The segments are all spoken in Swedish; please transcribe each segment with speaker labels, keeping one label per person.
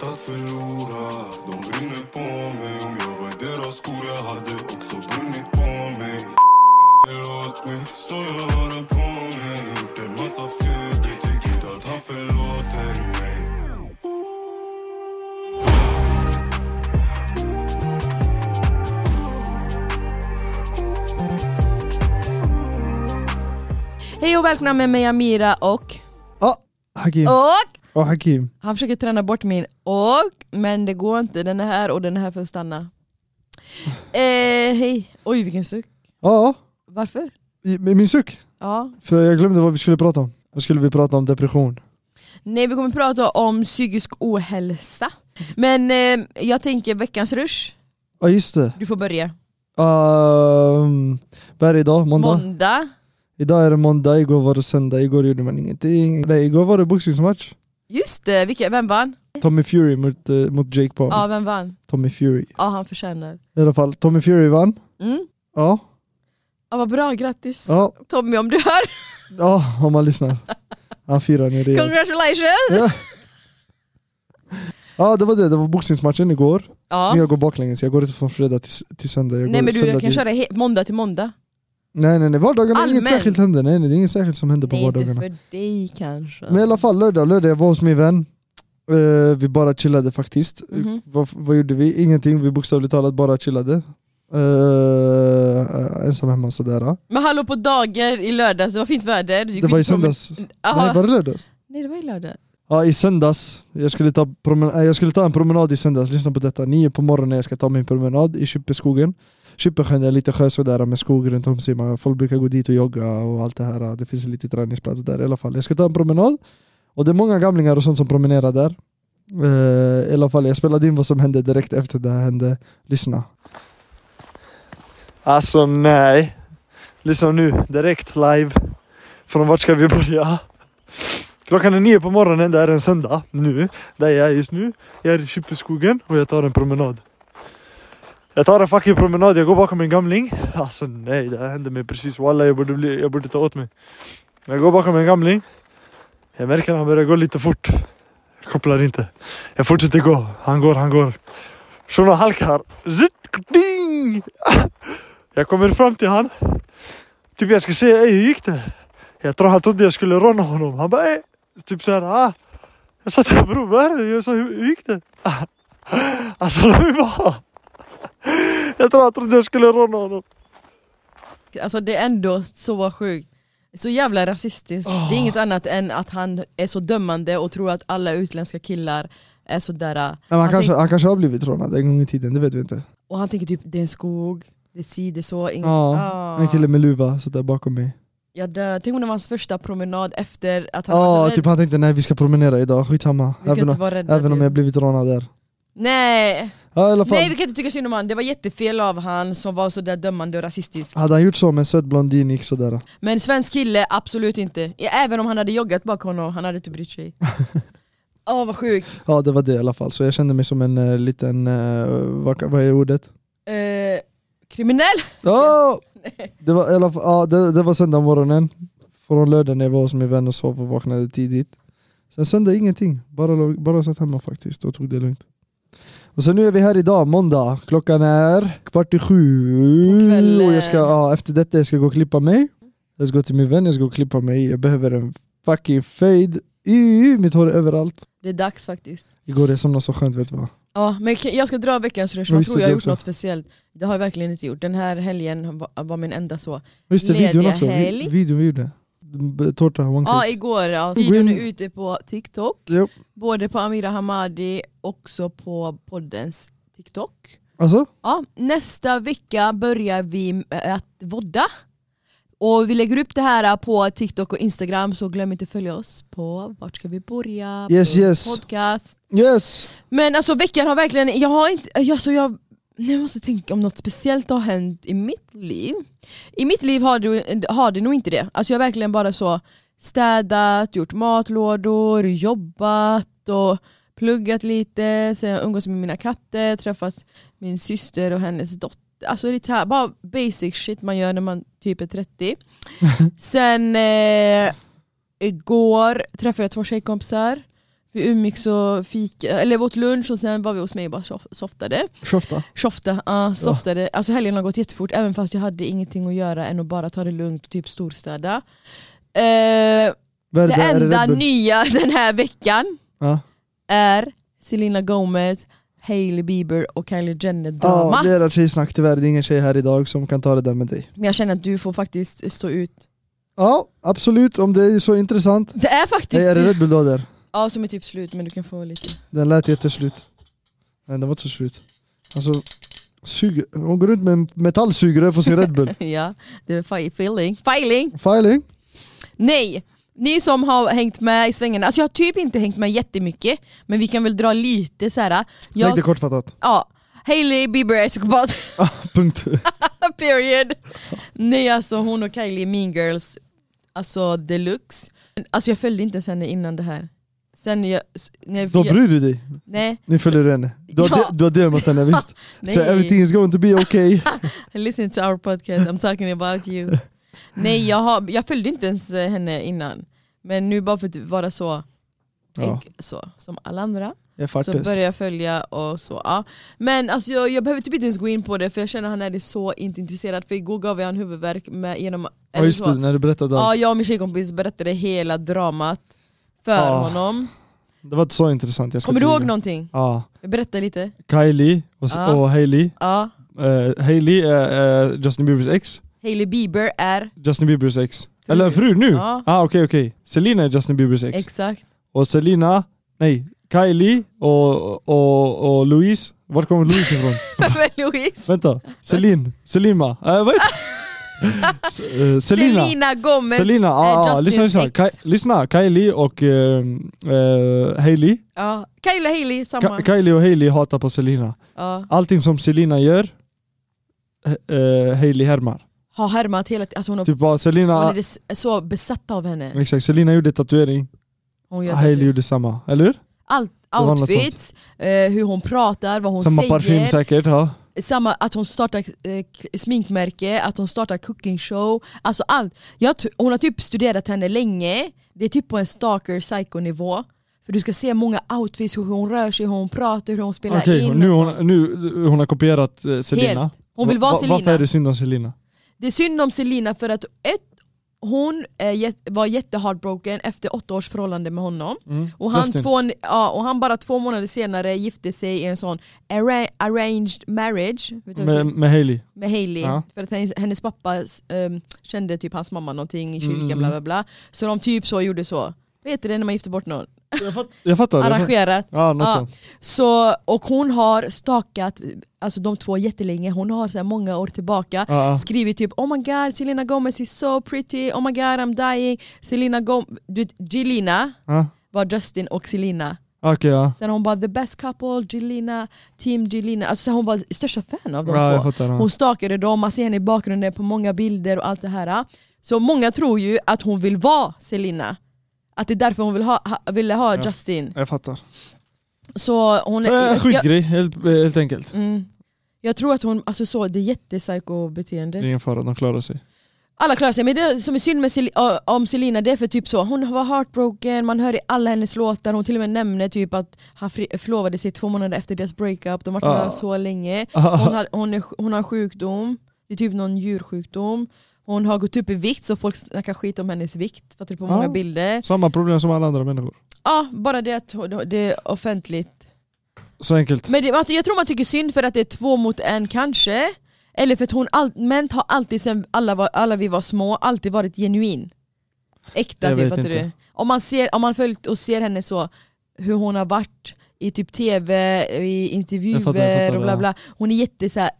Speaker 1: förlora De brinner på mig Om jag var i deras skor jag hade också brunnit på mig Ringer åt mig så jag har den på mig Gjort en massa fel, jag tycker inte att han förlåter mig
Speaker 2: Hej och välkomna med mig Amira och...
Speaker 3: Åh, Hakim.
Speaker 2: Och!
Speaker 3: Åh, Hakim.
Speaker 2: Han försöker träna bort min och, men det går inte. Den är här och den är här för att stanna. Eh, hej. Oj vilken suck.
Speaker 3: Ja,
Speaker 2: Varför?
Speaker 3: i- med min suck.
Speaker 2: Ja.
Speaker 3: För jag glömde vad vi skulle prata om. Vad skulle vi prata om? Depression.
Speaker 2: Nej vi kommer prata om psykisk ohälsa. Men eh, jag tänker veckans rush.
Speaker 3: Ja, just det.
Speaker 2: Du får börja.
Speaker 3: Um, vad är det idag? Måndag?
Speaker 2: Måndag.
Speaker 3: idag är det måndag, igår var det söndag, igår gjorde man ingenting. Nej, igår var det boxningsmatch.
Speaker 2: Just det, vilka, vem vann?
Speaker 3: Tommy Fury mot, eh, mot Jake Paul.
Speaker 2: Ja vem vann?
Speaker 3: Tommy Fury.
Speaker 2: Ja han förtjänar.
Speaker 3: I alla fall, Tommy Fury vann.
Speaker 2: Mm.
Speaker 3: Ja,
Speaker 2: Ja vad bra, grattis
Speaker 3: ja,
Speaker 2: Tommy om du hör.
Speaker 3: ja om man lyssnar. Han firar nu rejält.
Speaker 2: Congratulations!
Speaker 3: Ja, det var det. Det var boxningsmatchen igår.
Speaker 2: Ja.
Speaker 3: Men jag går baklänges. Jag går inte från fredag till, s- till söndag. Jag
Speaker 2: Nej
Speaker 3: går
Speaker 2: men du
Speaker 3: söndag
Speaker 2: jag kan
Speaker 3: till...
Speaker 2: köra he- måndag till måndag.
Speaker 3: Nej nej nej, vardagarna,
Speaker 2: Allmänt.
Speaker 3: inget särskilt händer. Nej, nej, det är inget särskilt som händer på
Speaker 2: Nej, inte
Speaker 3: vardagarna.
Speaker 2: för dig kanske.
Speaker 3: Men i alla fall lördag, lördag jag var hos min vän. Eh, vi bara chillade faktiskt.
Speaker 2: Mhm.
Speaker 3: Vad, vad gjorde vi? Ingenting, vi bokstavligt talat bara chillade. Eh, ensam hemma sådär.
Speaker 2: Men hallå på dagar i lördags, det var fint väder. Du gick
Speaker 3: Det var i
Speaker 2: ut på promen-
Speaker 3: söndags.
Speaker 2: Jaha.
Speaker 3: Nej, var det lördags?
Speaker 2: Nej det var i lördag.
Speaker 3: Ja, i söndags. Jag skulle, ta promen- eh, jag skulle ta en promenad i söndags, lyssna på detta. Nio på morgonen jag ska ta min promenad i Kyppeskogen. Kyppesjön är lite sjö sådär med skog runt om sig. Man- Folk brukar gå dit och jogga och allt det här. Det finns lite träningsplats där i alla fall. Jag ska ta en promenad. Och det är många gamlingar och sånt som promenerar där. Eh, I alla fall, jag spelade in vad som hände direkt efter det här hände. Lyssna. Alltså nej. Lyssna nu, direkt live. Från vart ska vi börja? Klockan är nio på morgonen, det är en söndag nu. Där jag är just nu. Jag är i Kyppeskogen och jag tar en promenad. Jag tar en fucking promenad, jag går bakom en gamling. Alltså nej, det här hände mig precis. Walla, jag borde, bli, jag borde ta åt mig. Jag går bakom en gamling. Jag märker att han börjar gå lite fort. Jag kopplar inte. Jag fortsätter gå. Han går, han går. Shunon halkar. Zitt, ding! Jag kommer fram till han. Typ jag ska säga, "Ey, hur gick det? Jag tror han trodde jag skulle råna honom. Han bara, "Ey." typ såhär, ah. Jag sa till honom, bror vad är det? Jag sa, hur, hur gick det? Alltså låt mig vara. Jag tror han trodde jag skulle råna honom.
Speaker 2: Alltså det är ändå så sjukt. Så jävla rasistiskt. Det är
Speaker 3: Ah.
Speaker 2: inget annat än att han är så dömande och tror att alla utländska killar är sådär. äh,
Speaker 3: Nej,
Speaker 2: han tänk-
Speaker 3: han kanske har blivit rånad en gång i tiden, det vet vi inte.
Speaker 2: och han tänker typ det är en skog, det är si, det är så. Inget,
Speaker 3: Ja,
Speaker 2: Ah.
Speaker 3: En kille med luva satt där bakom mig.
Speaker 2: Jag dör. Tänk om det var hans första promenad efter att han
Speaker 3: Ja,
Speaker 2: var
Speaker 3: typ han tänkte nej vi ska promenera idag, skitsamma.
Speaker 2: Vi ska
Speaker 3: Även,
Speaker 2: inte
Speaker 3: om,
Speaker 2: vara rädda.
Speaker 3: även om
Speaker 2: typ.
Speaker 3: jag blivit rånad där.
Speaker 2: Nej.
Speaker 3: Ja i alla fall.
Speaker 2: Nej vi kan inte tycka synd om han, det var jättefel av han som var sådär dömande och rasistisk.
Speaker 3: Hade han gjort så med en söt blondin gick sådär.
Speaker 2: Men svensk kille, absolut inte. Även om han hade joggat bakom honom, han hade inte brytt sig. Åh vad sjukt.
Speaker 3: Ja det var det i alla fall, så jag kände mig som en eh, liten, eh, vad, vad är ordet?
Speaker 2: Eh, kriminell?
Speaker 3: Ja! Det var, i alla fall, ja, det, det var söndag morgonen. Från lördag när jag var hos min vän och sov och vaknade tidigt. Sen söndag ingenting, bara, låg- bara satt hemma faktiskt och tog det lugnt. Och så nu är vi här idag, måndag. Klockan är kvart i
Speaker 2: På
Speaker 3: sju.
Speaker 2: kvällen.
Speaker 3: Och jag ska, ja, efter detta jag ska gå och klippa mig. Jag ska gå till min vän, jag ska gå och klippa mig. Jag behöver en fucking fade. I, mitt hår är överallt.
Speaker 2: Det är dags faktiskt.
Speaker 3: Igår jag somnade så skönt vet du vad.
Speaker 2: Ja, men k- jag ska dra veckans rush,
Speaker 3: Ja,
Speaker 2: man
Speaker 3: visst,
Speaker 2: tror
Speaker 3: det
Speaker 2: jag har gjort
Speaker 3: också.
Speaker 2: något speciellt. Det har jag verkligen inte gjort. Den här helgen var, var min enda så.
Speaker 3: Just det,
Speaker 2: Lediga
Speaker 3: videon också.
Speaker 2: helg.
Speaker 3: Vi, videon vi gjorde. B- Tårta, one
Speaker 2: Ja,
Speaker 3: cake.
Speaker 2: igår. Ja,
Speaker 3: in-
Speaker 2: videon är ute på TikTok.
Speaker 3: Jo.
Speaker 2: Både på Amira Hamadi, också på poddens TikTok.
Speaker 3: Alltså?
Speaker 2: Ja, nästa vecka börjar vi med att vodda. Och vi lägger upp det här på TikTok och Instagram så glöm inte att följa oss på Vart ska vi börja?
Speaker 3: Yes,
Speaker 2: på
Speaker 3: yes.
Speaker 2: Podcast.
Speaker 3: Yes!
Speaker 2: Men alltså veckan har verkligen, jag har inte, alltså jag, jag måste tänka om något speciellt har hänt i mitt liv. I mitt liv har det, har det nog inte det. Alltså jag har verkligen bara så städat, gjort matlådor, jobbat och pluggat lite, sen har jag umgås med mina katter, träffat min syster och hennes dotter. Alltså lite så här, bara basic shit man gör när man typ är 30. Sen eh, igår träffade jag två tjejkompisar Vi umgicks och fika, eller åt lunch och sen var vi hos mig och bara sof- softade.
Speaker 3: Tjofta.
Speaker 2: Softa, ja, softade. Alltså helgen har gått jättefort även fast jag hade ingenting att göra än att bara ta det lugnt och typ storstäda. Eh,
Speaker 3: Vad
Speaker 2: det
Speaker 3: är där? Är
Speaker 2: enda
Speaker 3: Red Bull?
Speaker 2: nya den här veckan
Speaker 3: Ja.
Speaker 2: är Selena Gomez, Hailey Bieber och Kylie Jenner drama.
Speaker 3: Ja, det är ett tjejsnack tyvärr. Det är ingen tjej här idag som kan ta det där med dig.
Speaker 2: Men jag känner att du får faktiskt stå ut.
Speaker 3: Ja, absolut. Om det är så intressant.
Speaker 2: Det är
Speaker 3: Nej,
Speaker 2: faktiskt
Speaker 3: är det Red Bull då där?
Speaker 2: Ja, som är typ slut men du kan få lite.
Speaker 3: Den lät jätteslut. Nej, den var inte så slut. Alltså, sug... hon går runt med en metallsugrör på sin Red Bull.
Speaker 2: ja, det är fi- feeling. Filing!
Speaker 3: Filing.
Speaker 2: Nej! Ni som har hängt med i svängarna, alltså jag har typ inte hängt med jättemycket men vi kan väl dra lite så här.
Speaker 3: Tänk dig
Speaker 2: Jag,
Speaker 3: kortfattat.
Speaker 2: ja, Hailey Bieber är psykopat,
Speaker 3: Punkt.
Speaker 2: period! Nej alltså hon och Kylie är mean girls, alltså deluxe. Alltså jag följde inte ens henne innan det här. Sen jag... s- När
Speaker 3: Då
Speaker 2: jag
Speaker 3: bryr du dig.
Speaker 2: nej,
Speaker 3: Nu följer du henne. Du har,
Speaker 2: Ja.
Speaker 3: du har dömat henne, visst? Så everything
Speaker 2: nej,
Speaker 3: is going to be okay.
Speaker 2: listen to our podcast, I'm talking about you. Nej jag, har, jag följde inte ens eh, henne innan. Men nu bara för att vara så,
Speaker 3: Ja,
Speaker 2: så som alla andra.
Speaker 3: jag
Speaker 2: Så
Speaker 3: faktiskt.
Speaker 2: började jag följa och så. Ja. Men alltså, jag, jag behöver typ inte ens gå in på det för jag känner att han är så inte intresserad. För igår gav jag han huvudvärk med, genom...
Speaker 3: Ja
Speaker 2: eller så.
Speaker 3: just det, när du berättade
Speaker 2: ja,
Speaker 3: allt.
Speaker 2: jag och min tjejkompis berättade hela dramat för
Speaker 3: Ja.
Speaker 2: honom.
Speaker 3: Det var inte Ah, så intressant. Jag ska
Speaker 2: Kommer du
Speaker 3: inte
Speaker 2: ihåg
Speaker 3: ljuga.
Speaker 2: någonting?
Speaker 3: Ja.
Speaker 2: Berätta lite.
Speaker 3: Kylie och, s-
Speaker 2: Ja.
Speaker 3: och Hailey.
Speaker 2: Ja.
Speaker 3: Eh, Hailey är eh, Justin Biebers ex.
Speaker 2: Hailey Bieber är...
Speaker 3: Justin Biebers ex. Eller fru nu?
Speaker 2: Ja.
Speaker 3: Ah, okej okej. Selina är Justin Biebers ex.
Speaker 2: Exakt.
Speaker 3: Och Selina, nej, Kylie och, och, och Louise. Vart kommer Louise ifrån?
Speaker 2: Men Louise.
Speaker 3: Vänta, Celine, Selima, eh, vad heter S- eh, Selina.
Speaker 2: Selena Gomez.
Speaker 3: Selina, ah, ah,
Speaker 2: Justins
Speaker 3: lyssna, lyssna.
Speaker 2: eh, ex.
Speaker 3: Ki- lyssna. Kylie och ehm, eh, Hailey.
Speaker 2: Ja. Kylie Hailey, samma.
Speaker 3: Ka- Kylie och Hailey hatar på Selina.
Speaker 2: ja.
Speaker 3: Allting som Selina gör, eh, eh, Hailey härmar.
Speaker 2: Har härmat hela tiden. Alltså hon, har-
Speaker 3: Typ vad
Speaker 2: hon är
Speaker 3: Selina...
Speaker 2: des- så besatt av henne.
Speaker 3: Exakt, Selina gjorde tatuering,
Speaker 2: Hon gör
Speaker 3: Hailey gjorde samma, eller hur?
Speaker 2: Allt,
Speaker 3: var något
Speaker 2: outfits, eh, hur hon pratar, vad hon
Speaker 3: samma
Speaker 2: säger,
Speaker 3: parfym säkert, ja.
Speaker 2: samma, att hon startar eh, k- sminkmärke, att hon startar cooking show, alltså allt. Jag, t- hon har typ studerat henne länge, det är typ på en stalker psycho nivå. För du ska se många outfits, hur hon rör sig, hur hon pratar, hur hon spelar
Speaker 3: Okej,
Speaker 2: in.
Speaker 3: och
Speaker 2: och
Speaker 3: nu,
Speaker 2: sånt.
Speaker 3: hon, nu hon har kopierat eh, Selina.
Speaker 2: Helt. Hon vill vara
Speaker 3: Va-
Speaker 2: Selina.
Speaker 3: Varför är det synd om Selina?
Speaker 2: Det är synd om Selina för att ett, hon eh, jät- var jätteheartbroken efter åtta års förhållande med honom.
Speaker 3: Mm.
Speaker 2: Och han,
Speaker 3: Justin.
Speaker 2: två, ja, och han bara två månader senare gifte sig i en sån arra- arranged marriage vet du vad
Speaker 3: Med,
Speaker 2: det-
Speaker 3: med Hailey.
Speaker 2: med Hailey.
Speaker 3: Ja.
Speaker 2: För att hennes, hennes pappa ehm, kände typ hans mamma någonting i kyrkan
Speaker 3: Mm.
Speaker 2: bla bla bla. Så de typ så gjorde så. Vad heter det när man gifter bort någon?
Speaker 3: Jag fattar. Jag fattar.
Speaker 2: Arrangerat.
Speaker 3: Ja, något
Speaker 2: Ja.
Speaker 3: sånt.
Speaker 2: Så, och hon har stakat alltså de två jättelänge, hon har så här många år tillbaka
Speaker 3: Ja, ja.
Speaker 2: skrivit typ oh my god Selena Gomez is so pretty, oh my god I'm dying. Selena Gomez, Jelena
Speaker 3: Ja.
Speaker 2: var Justin och Selena.
Speaker 3: Okej ja.
Speaker 2: Sen hon bara the best couple, Jelena, team Jelena. Alltså hon var största fan av de
Speaker 3: ja jag
Speaker 2: två.
Speaker 3: fattar. Ja.
Speaker 2: Hon stakade dem, man ser henne i bakgrunden på många bilder och allt det här. Så många tror ju att hon vill vara Selena. Att det är därför hon vill ha, ha, ville ha
Speaker 3: Ja.
Speaker 2: Justin.
Speaker 3: Jag fattar.
Speaker 2: Så hon...
Speaker 3: Äh,
Speaker 2: jag,
Speaker 3: Skitgrej helt, helt enkelt.
Speaker 2: mm, jag tror att hon, alltså så, det är
Speaker 3: Det
Speaker 2: jättepsykobeteende.
Speaker 3: är ingen fara, de klarar sig.
Speaker 2: Alla klarar sig, men det som är synd med Sel- ö, om Selina det är för typ så, hon var heartbroken, man hör i alla hennes låtar, hon till och med nämner typ att han fri- förlovade sig två månader efter deras breakup, de har varit
Speaker 3: Ah.
Speaker 2: med varandra så länge, hon
Speaker 3: Ah,
Speaker 2: har, hon, är, hon har en sjukdom, det är typ någon djursjukdom, hon har gått upp i vikt så folk snackar skit om hennes vikt, fattar du på många
Speaker 3: Ah.
Speaker 2: bilder.
Speaker 3: Samma problem som alla andra människor.
Speaker 2: Ja, bara det att hon- det är offentligt.
Speaker 3: Så enkelt.
Speaker 2: Men det, jag tror man tycker synd för att det är två mot en kanske, eller för att hon all, män har alltid sen alla, var, alla vi var små, alltid varit genuin. Äkta
Speaker 3: Jag
Speaker 2: typ,
Speaker 3: vet
Speaker 2: fattar
Speaker 3: inte.
Speaker 2: du? Om man, ser, om man följt och ser henne så, hur hon har varit i typ tv, i intervjuer
Speaker 3: Jag fattar, jag fattar,
Speaker 2: och bla
Speaker 3: ja.
Speaker 2: bla. Hon är jätte så här,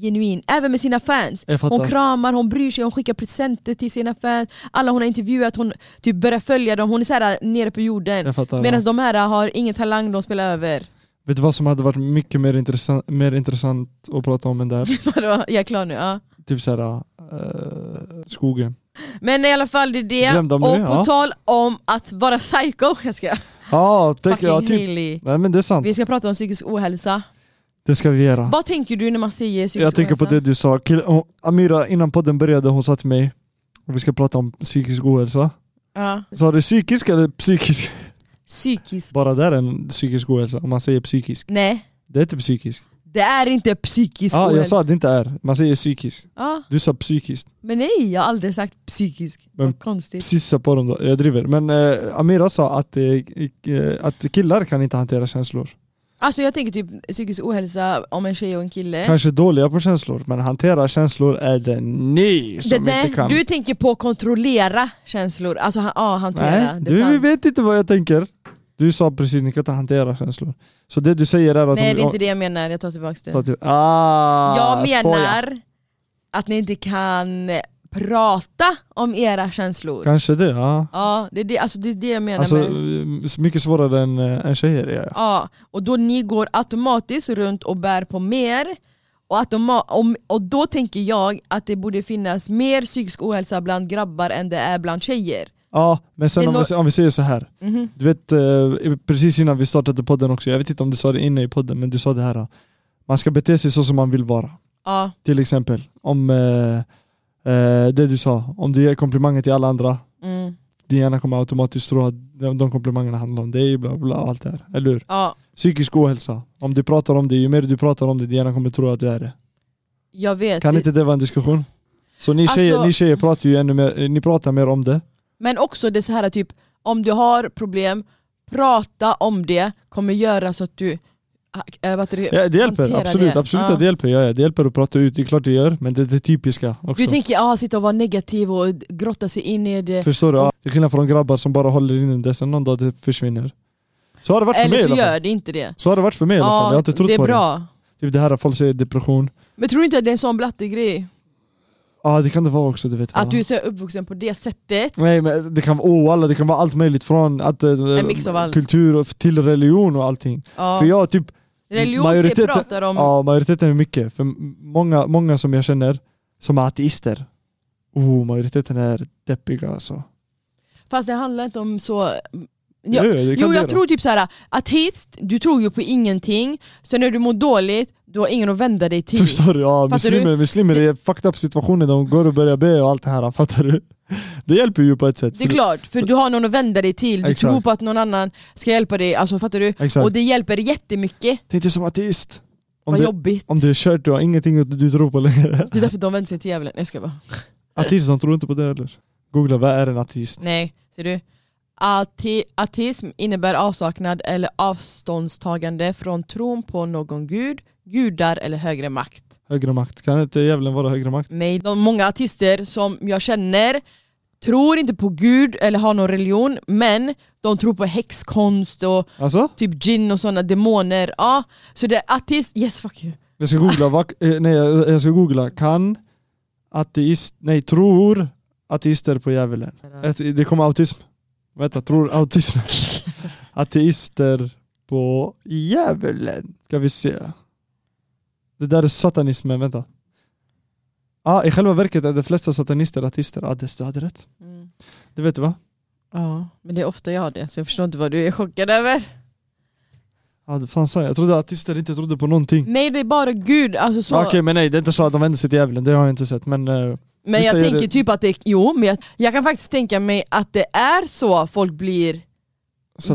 Speaker 2: genuin, även med sina fans.
Speaker 3: Jag fattar.
Speaker 2: Hon kramar, hon bryr sig, hon skickar presenter till sina fans. Alla hon har intervjuat, hon typ börjar följa dem, hon är så här nere på jorden.
Speaker 3: jag fattar.
Speaker 2: Medan
Speaker 3: ja.
Speaker 2: de här har ingen talang de spelar över.
Speaker 3: Vet du vad som hade varit mycket mer intressant, mer intressant att prata om än det här?
Speaker 2: Vadå? Jag är klar nu, ja.
Speaker 3: typ såhär, eh, skogen.
Speaker 2: Men i alla fall det är det,
Speaker 3: Glömde om
Speaker 2: och
Speaker 3: det,
Speaker 2: på
Speaker 3: ja.
Speaker 2: tal om att vara psycho, jag ska
Speaker 3: Ja, tänk,
Speaker 2: fucking
Speaker 3: ja typ.
Speaker 2: Hailey.
Speaker 3: Nej men det är sant.
Speaker 2: Vi ska prata om psykisk ohälsa.
Speaker 3: Det ska vi göra.
Speaker 2: Vad tänker du när man säger psykisk
Speaker 3: Jag tänker på
Speaker 2: ohälsa?
Speaker 3: det du sa. Kill- hon- Amira, innan podden började, hon sa till mig och vi ska prata om psykisk ohälsa.
Speaker 2: Ja.
Speaker 3: Sa du psykisk eller psykisk?
Speaker 2: Psykisk.
Speaker 3: Bara där är en psykisk ohälsa, om man säger psykisk.
Speaker 2: Nej,
Speaker 3: Det är inte psykisk.
Speaker 2: det är inte psykisk
Speaker 3: Ja, jag
Speaker 2: ohälsa.
Speaker 3: sa att det inte är. Man säger psykisk.
Speaker 2: Ja,
Speaker 3: Du sa psykiskt.
Speaker 2: men nej, jag har aldrig sagt psykisk.
Speaker 3: Men-
Speaker 2: Vad konstigt.
Speaker 3: Pissa på dem då, jag driver. Men eh, Amira sa att, eh, eh, att killar kan inte hantera känslor.
Speaker 2: Alltså jag tänker typ psykisk ohälsa om en tjej och en kille.
Speaker 3: Kanske dåliga på känslor, men hantera känslor är det ni
Speaker 2: Det,
Speaker 3: som
Speaker 2: nej,
Speaker 3: inte kan.
Speaker 2: du tänker på kontrollera känslor, alltså han, ja, hantera.
Speaker 3: Nej,
Speaker 2: det är
Speaker 3: du
Speaker 2: sant.
Speaker 3: vet inte vad jag tänker. Du sa precis ni kan inte hantera känslor. Så det du säger är att...
Speaker 2: Nej
Speaker 3: om-
Speaker 2: det är inte det jag menar, jag tar tillbaka det.
Speaker 3: Ta till- Ah,
Speaker 2: Jag
Speaker 3: soja.
Speaker 2: menar att ni inte kan prata om era känslor.
Speaker 3: Kanske det, ja.
Speaker 2: Ja, det är det, alltså det, är det jag menar
Speaker 3: Alltså,
Speaker 2: med...
Speaker 3: eh, mycket svårare än, eh, än tjejer är jag.
Speaker 2: Ja, och då ni går automatiskt runt och bär på mer och, automa- om, och då tänker jag att det borde finnas mer psykisk ohälsa bland grabbar än det är bland tjejer.
Speaker 3: Ja, men sen
Speaker 2: Det är
Speaker 3: om, vi, om vi säger så här.
Speaker 2: Mhm.
Speaker 3: Du vet, eh, precis innan vi startade podden också, jag vet inte om du sa det inne i podden, men du sa det här. eh, Man ska bete sig så som man vill vara.
Speaker 2: Ja,
Speaker 3: Till exempel, om eh, eh, det du sa, om du ger komplimanger till alla andra,
Speaker 2: mm,
Speaker 3: din hjärna kommer automatiskt tro att de de komplimangerna handlar om dig, bla bla, och allt det här. Eller hur?
Speaker 2: ja.
Speaker 3: Psykisk ohälsa. Om du pratar om det, ju mer du pratar om det, din hjärna kommer tro att du är det.
Speaker 2: Jag vet.
Speaker 3: Kan
Speaker 2: det-
Speaker 3: inte det vara en diskussion? Så ni tjejer,
Speaker 2: Alltså-
Speaker 3: ni tjejer pratar ju ännu mer, eh, ni pratar mer om det.
Speaker 2: Men också det så här typ, om du har problem, prata om det, kommer göra så att du... Äh, vad heter det?
Speaker 3: Ja, det hjälper,
Speaker 2: Hantera
Speaker 3: absolut.
Speaker 2: det.
Speaker 3: Absolut
Speaker 2: Ja.
Speaker 3: att det hjälper. Ja, ja, det hjälper att prata ut, det är klart det gör. Men det är det typiska också.
Speaker 2: Du tänker ah, sitta och vara negativ och grotta sig in i det.
Speaker 3: Förstår du? Ja. Det är skillnad från grabbar som bara håller inne det, sen någon dag det försvinner. Så har det varit för
Speaker 2: Eller
Speaker 3: mig i
Speaker 2: så
Speaker 3: alla fall.
Speaker 2: gör det inte det.
Speaker 3: Så har det varit för mig i alla fall. Jag har inte trott
Speaker 2: det är
Speaker 3: på det.
Speaker 2: bra.
Speaker 3: Typ det här att folk säger depression.
Speaker 2: Men tror du inte att det är en sån blattegrej?
Speaker 3: Ja det kan det vara också, det vet
Speaker 2: Att
Speaker 3: fan.
Speaker 2: du är så uppvuxen på det sättet?
Speaker 3: Nej men det kan vara oh, alla, det kan vara allt möjligt från att, eh,
Speaker 2: En mix av allt.
Speaker 3: kultur och- till religion och allting.
Speaker 2: Ja.
Speaker 3: För jag typ,
Speaker 2: Religion
Speaker 3: majoriteten-
Speaker 2: pratar om...
Speaker 3: ja majoriteten är mycket. För m- många, många som jag känner som är ateister, oh majoriteten är deppiga alltså.
Speaker 2: Fast det handlar inte om så...
Speaker 3: Ja,
Speaker 2: Ja,
Speaker 3: det kan
Speaker 2: Jo
Speaker 3: det
Speaker 2: jag
Speaker 3: göra.
Speaker 2: tror typ såhär, ateist, du tror ju på ingenting, så när du mår dåligt, du har ingen att vända dig till.
Speaker 3: Förstår du? Ja,
Speaker 2: Fattar
Speaker 3: muslimer, muslimer är fucked up situationer, de går och börjar be och allt det här, fattar du? Det hjälper ju på ett sätt.
Speaker 2: Det är klart, för du har någon att vända dig till, du
Speaker 3: Exakt.
Speaker 2: tror på att någon annan ska hjälpa dig, alltså fattar du?
Speaker 3: Exakt.
Speaker 2: Och det hjälper jättemycket,
Speaker 3: Tänk dig som ateist. Om
Speaker 2: vad
Speaker 3: du,
Speaker 2: jobbigt.
Speaker 3: om du är kört, du har ingenting att- du tror på längre.
Speaker 2: Det är därför de vänder sig till djävulen, jag ska bara.
Speaker 3: Ateister, de tror inte på det heller. Googla, vad är en ateist?
Speaker 2: Nej, ser du? Ate- ateism innebär avsaknad eller avståndstagande från tron på någon gud, gudar eller högre makt.
Speaker 3: Högre makt. Kan inte djävulen vara högre makt?
Speaker 2: Nej, de många artister som jag känner tror inte på gud eller har någon religion, men de tror på häxkonst och
Speaker 3: Alltså?
Speaker 2: typ gin och sådana demoner. Ja, så det är artist, yes fuck you.
Speaker 3: Jag ska googla, vak- eh, nej jag jag ska googla, kan ateist, nej tror ateister på djävulen?
Speaker 2: Mm.
Speaker 3: Ett- Det kommer autism. Vänta, tror autism. Ateister på djävulen. Ska vi se. Det där är satanismen, vänta. Ah, I själva verket är de flesta satanister ateister. Ah, det, du hade rätt.
Speaker 2: Mm.
Speaker 3: Det vet du va?
Speaker 2: Ja, men det är ofta jag har det, så jag förstår inte vad du är chockad över.
Speaker 3: Ah, det fan sa jag? Jag trodde ateister inte trodde på någonting.
Speaker 2: Nej, det är bara gud. Alltså Mm, så.
Speaker 3: Ah, Okej men nej, det är inte så att de vänder sig till djävulen, det har jag inte sett. Men eh,
Speaker 2: Men
Speaker 3: du
Speaker 2: jag
Speaker 3: säger
Speaker 2: tänker
Speaker 3: det.
Speaker 2: typ att det, jo, men jag, jag kan faktiskt tänka mig att det är så folk blir,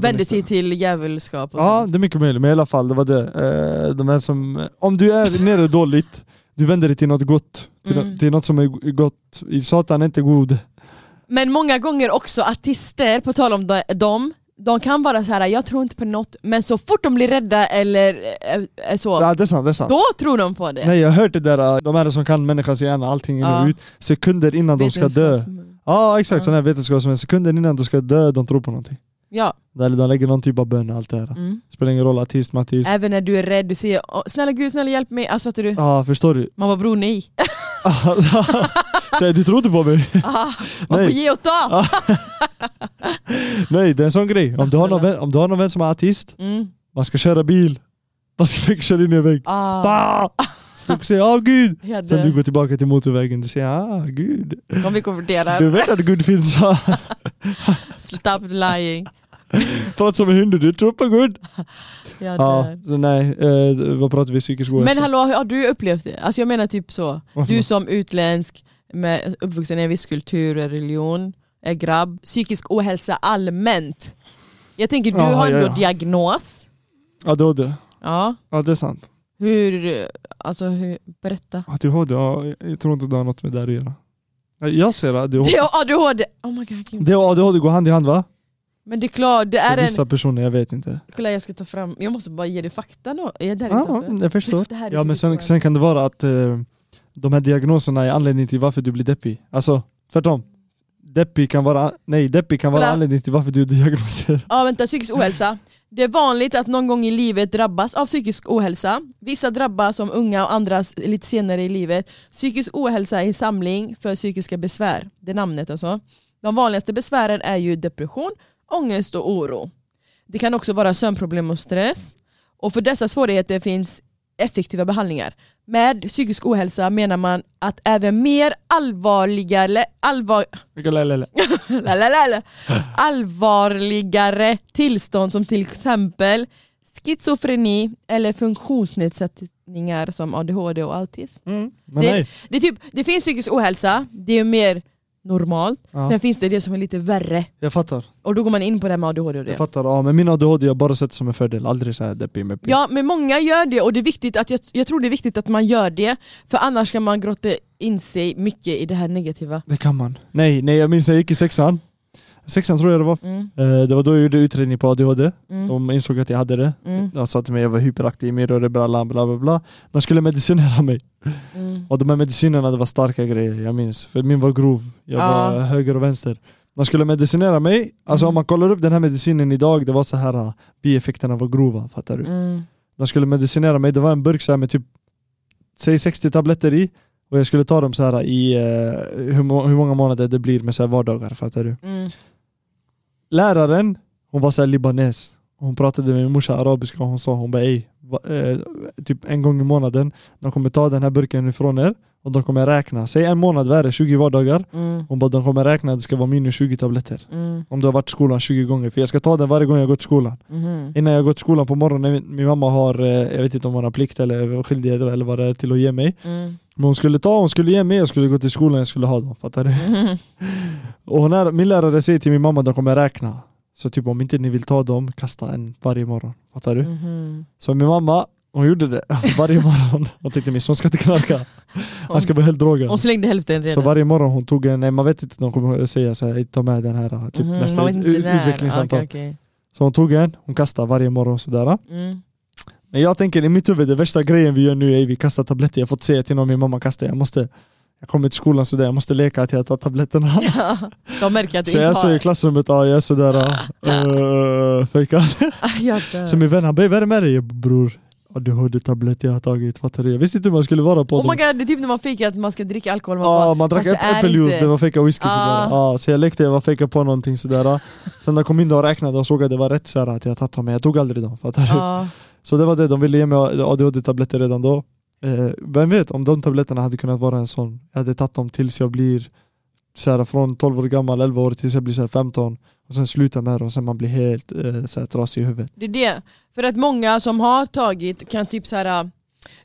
Speaker 2: vänder sig till djävulskap. Och
Speaker 3: Ja,
Speaker 2: sånt.
Speaker 3: det är mycket möjligt, men i alla fall det var det. Eh, De här som, om du är nere dåligt, du vänder dig till något gott. Till,
Speaker 2: Mm.
Speaker 3: nå- till något som är gott. Satan är inte god.
Speaker 2: Men många gånger också artister, på tal om de- dem, de kan vara så här, jag tror inte på något, men så fort de blir rädda eller eh, eh, så,
Speaker 3: Ja, det är sant, det är sant.
Speaker 2: då tror de på det.
Speaker 3: Nej jag har hört det där, eh, de här som kan människans hjärna, allting in och
Speaker 2: Ja.
Speaker 3: ut, sekunder innan de ska dö.
Speaker 2: Vetenskaps-
Speaker 3: Ja exakt,
Speaker 2: Ja.
Speaker 3: sådana här vetenskapsmän, sekunder innan de ska dö, de tror på någonting.
Speaker 2: Ja.
Speaker 3: Eller de lägger någon typ av bön och allt det här.
Speaker 2: Mm.
Speaker 3: Spelar ingen roll, artist, matist.
Speaker 2: Även när du är rädd, du säger "Åh, snälla gud, snälla hjälp mig, alltså fattar du?
Speaker 3: Ja, förstår du?
Speaker 2: Man bara bror nej.
Speaker 3: Säger Alltså. du tror inte på mig?
Speaker 2: Ah, man får
Speaker 3: Nej.
Speaker 2: ge och ta!
Speaker 3: Nej, det är en sån grej. Om du har någon vän, om du har någon vän som är artist,
Speaker 2: Mm.
Speaker 3: man ska köra bil, man ska försöka köra in i en vägg.
Speaker 2: Ah,
Speaker 3: Bah! Så du säger ah gud!
Speaker 2: jag
Speaker 3: Sen du
Speaker 2: dör.
Speaker 3: går tillbaka till motorvägen, du säger ah gud.
Speaker 2: Om vi konverterar,
Speaker 3: Du vet att gud finns, ah.
Speaker 2: stop lying.
Speaker 3: prata som en hund, du tror på gud.
Speaker 2: Jag
Speaker 3: Ja,
Speaker 2: dör.
Speaker 3: så nej, eh, vad pratar vi psykisk ohälsa?
Speaker 2: Men hallå, hur har du upplevt det? Alltså jag menar typ så.
Speaker 3: Varför
Speaker 2: Du
Speaker 3: då?
Speaker 2: som utländsk, med uppvuxen i en viss kultur och religion, är grabb, psykisk ohälsa allmänt. Jag tänker du
Speaker 3: Jaha,
Speaker 2: har ändå
Speaker 3: ja, ja.
Speaker 2: diagnos.
Speaker 3: ADHD.
Speaker 2: Ja.
Speaker 3: Ja det är sant.
Speaker 2: Hur, alltså hur, berätta.
Speaker 3: ADHD, ja, jag- jag tror inte det har något med det här att göra. Jag ser
Speaker 2: Det
Speaker 3: ADHD.
Speaker 2: är ADHD! Oh my god. gud.
Speaker 3: Det och ADHD går hand i hand va?
Speaker 2: Men det är klart, det
Speaker 3: För
Speaker 2: är
Speaker 3: vissa
Speaker 2: en...
Speaker 3: personer, jag vet inte.
Speaker 2: Kolla jag ska ta fram, jag måste bara ge dig fakta då. Är jag där
Speaker 3: Ja,
Speaker 2: utanför?
Speaker 3: jag förstår.
Speaker 2: Det här är
Speaker 3: Ja men
Speaker 2: typ
Speaker 3: sen,
Speaker 2: bara-
Speaker 3: sen kan det vara att eh, de här diagnoserna är anledningen till varför du blir deppig. Alltså tvärtom. Deppig kan vara, nej deppig kan vara
Speaker 2: Kolla.
Speaker 3: anledningen till varför du är diagnoserad.
Speaker 2: Ja vänta, psykisk ohälsa. Det är vanligt att någon gång i livet drabbas av psykisk ohälsa. Vissa drabbas som unga och andra s- lite senare i livet. Psykisk ohälsa är en samling för psykiska besvär. Det är namnet alltså. De vanligaste besvären är ju depression, ångest och oro. Det kan också vara sömnproblem och stress. Och för dessa svårigheter finns effektiva behandlingar. Med psykisk ohälsa menar man att även mer allvarliga, le- allvar,
Speaker 3: Lalalala.
Speaker 2: Lalalala. allvarligare tillstånd som till exempel schizofreni eller funktionsnedsättningar som ADHD och autism.
Speaker 3: Mm. Men
Speaker 2: Det-
Speaker 3: nej.
Speaker 2: Det, är typ, det finns psykisk ohälsa, det är mer normalt.
Speaker 3: Ja.
Speaker 2: Sen finns det det som är lite värre.
Speaker 3: Jag fattar.
Speaker 2: Och då går man in på det här med ADHD och
Speaker 3: Jag
Speaker 2: det.
Speaker 3: fattar. Ja, men min ADHD jag har bara sett som en fördel, aldrig så här deppig med
Speaker 2: Ja men många gör det och det är viktigt att jag, jag tror det är viktigt att man gör det för annars kan man grotta in sig mycket i det här negativa.
Speaker 3: Det kan man. Nej, nej jag minns jag gick i sexan. Sexan tror jag det var.
Speaker 2: Mm,
Speaker 3: Eh, Det var då jag gjorde utredning på ADHD.
Speaker 2: mm,
Speaker 3: De insåg att jag hade det.
Speaker 2: mm,
Speaker 3: De sa till mig att jag var hyperaktiv, min rörebralla, bla bla bla. De skulle medicinera mig.
Speaker 2: mm.
Speaker 3: Och de här medicinerna, det var starka grejer, jag minns. För min var grov, jag
Speaker 2: Ja.
Speaker 3: var höger och vänster. De skulle medicinera mig, alltså
Speaker 2: Mm.
Speaker 3: om man kollar upp den här medicinen idag, det var så här ah, bieffekterna var grova, fattar du?
Speaker 2: Mm.
Speaker 3: De skulle medicinera mig, det var en burk så här med typ, säg 60 tabletter i, och jag skulle ta dem så här i eh, hur, må- hur många månader det blir med så här vardagar, fattar du?
Speaker 2: Mm.
Speaker 3: Läraren, hon var så här libanes. Hon pratade med min morsa arabiska och hon sa hon bara ey, va- eh, typ en gång i månaden, de kommer ta den här burken ifrån er och de kommer räkna. Säg en månad, vad är det? 20 vardagar.
Speaker 2: Mm.
Speaker 3: Hon bara de kommer räkna, det ska vara minus 20 tabletter.
Speaker 2: Mm.
Speaker 3: Om du har varit i skolan 20 gånger. För jag ska ta den varje gång jag går till skolan.
Speaker 2: Mhm.
Speaker 3: Innan jag går till skolan på morgonen, min- min mamma har, eh, jag vet inte om hon har plikt eller skyldighet eller vad det är till att ge mig.
Speaker 2: Mm.
Speaker 3: Men hon skulle ta, hon skulle ge mig, jag skulle gå till skolan, jag skulle ha dem. Fattar du?
Speaker 2: Mhm.
Speaker 3: Och hon är, min lärare säger till min mamma att de kommer räkna. Så typ om inte ni vill ta dem, kasta en varje morgon. Fattar du?
Speaker 2: Mhm.
Speaker 3: Så min mamma, hon gjorde det varje morgon. Hon tänkte min son ska inte knarka. Han ska bli helt drogad.
Speaker 2: Hon slängde hälften
Speaker 3: Så typ
Speaker 2: redan.
Speaker 3: varje morgon hon tog en, nej man vet inte, de kommer säga så här, ta med den här, typ
Speaker 2: Mhm,
Speaker 3: nästa
Speaker 2: man vet
Speaker 3: ut,
Speaker 2: inte
Speaker 3: ut,
Speaker 2: när.
Speaker 3: utvecklingssamtal.
Speaker 2: Okej, okej.
Speaker 3: Så hon tog en, hon kastade varje morgon sådär.
Speaker 2: Mm.
Speaker 3: Men jag tänker i mitt huvud, det värsta grejen vi gör nu är att vi kastar tabletter. Jag har fått säga till någon, min mamma kastar, jag måste, jag kommer till skolan sådär, jag måste leka att jag tar tabletterna.
Speaker 2: De märker att du
Speaker 3: Så
Speaker 2: inte
Speaker 3: jag såg i
Speaker 2: har...
Speaker 3: klassrummet, ja jag är sådär uh, fejkad.
Speaker 2: Ah, jag dör.
Speaker 3: Så min vän han bara, vad är det med dig bror? ADHD-tablett jag har tagit, fattar du? Jag visste inte hur man skulle vara på
Speaker 2: Oh my
Speaker 3: dem.
Speaker 2: god, det är typ när man fejkar att man ska dricka alkohol. Man
Speaker 3: Ja,
Speaker 2: bara,
Speaker 3: man drack
Speaker 2: fast det är
Speaker 3: äppeljuice,
Speaker 2: inte-
Speaker 3: det var fejkad whisky sådär.
Speaker 2: Ah.
Speaker 3: Ja, så jag lekte, jag var fejkad på någonting sådär. Sen när jag kom in och räknade och såg att det var rätt såhär att jag tagit dem, men jag tog aldrig dem, fattar du?
Speaker 2: Ja.
Speaker 3: Så det var det, de ville ge mig ADHD-tabletter redan då. Eh, vem vet om de tabletterna hade kunnat vara en sån. Jag hade tagit dem tills jag blir så här, från 12 år gammal, 11 år tills jag blir så här, 15 och sen sluta med det och sen man blir helt eh, så här, trasig i huvudet.
Speaker 2: Det är det. För att många som har tagit kan typ så här.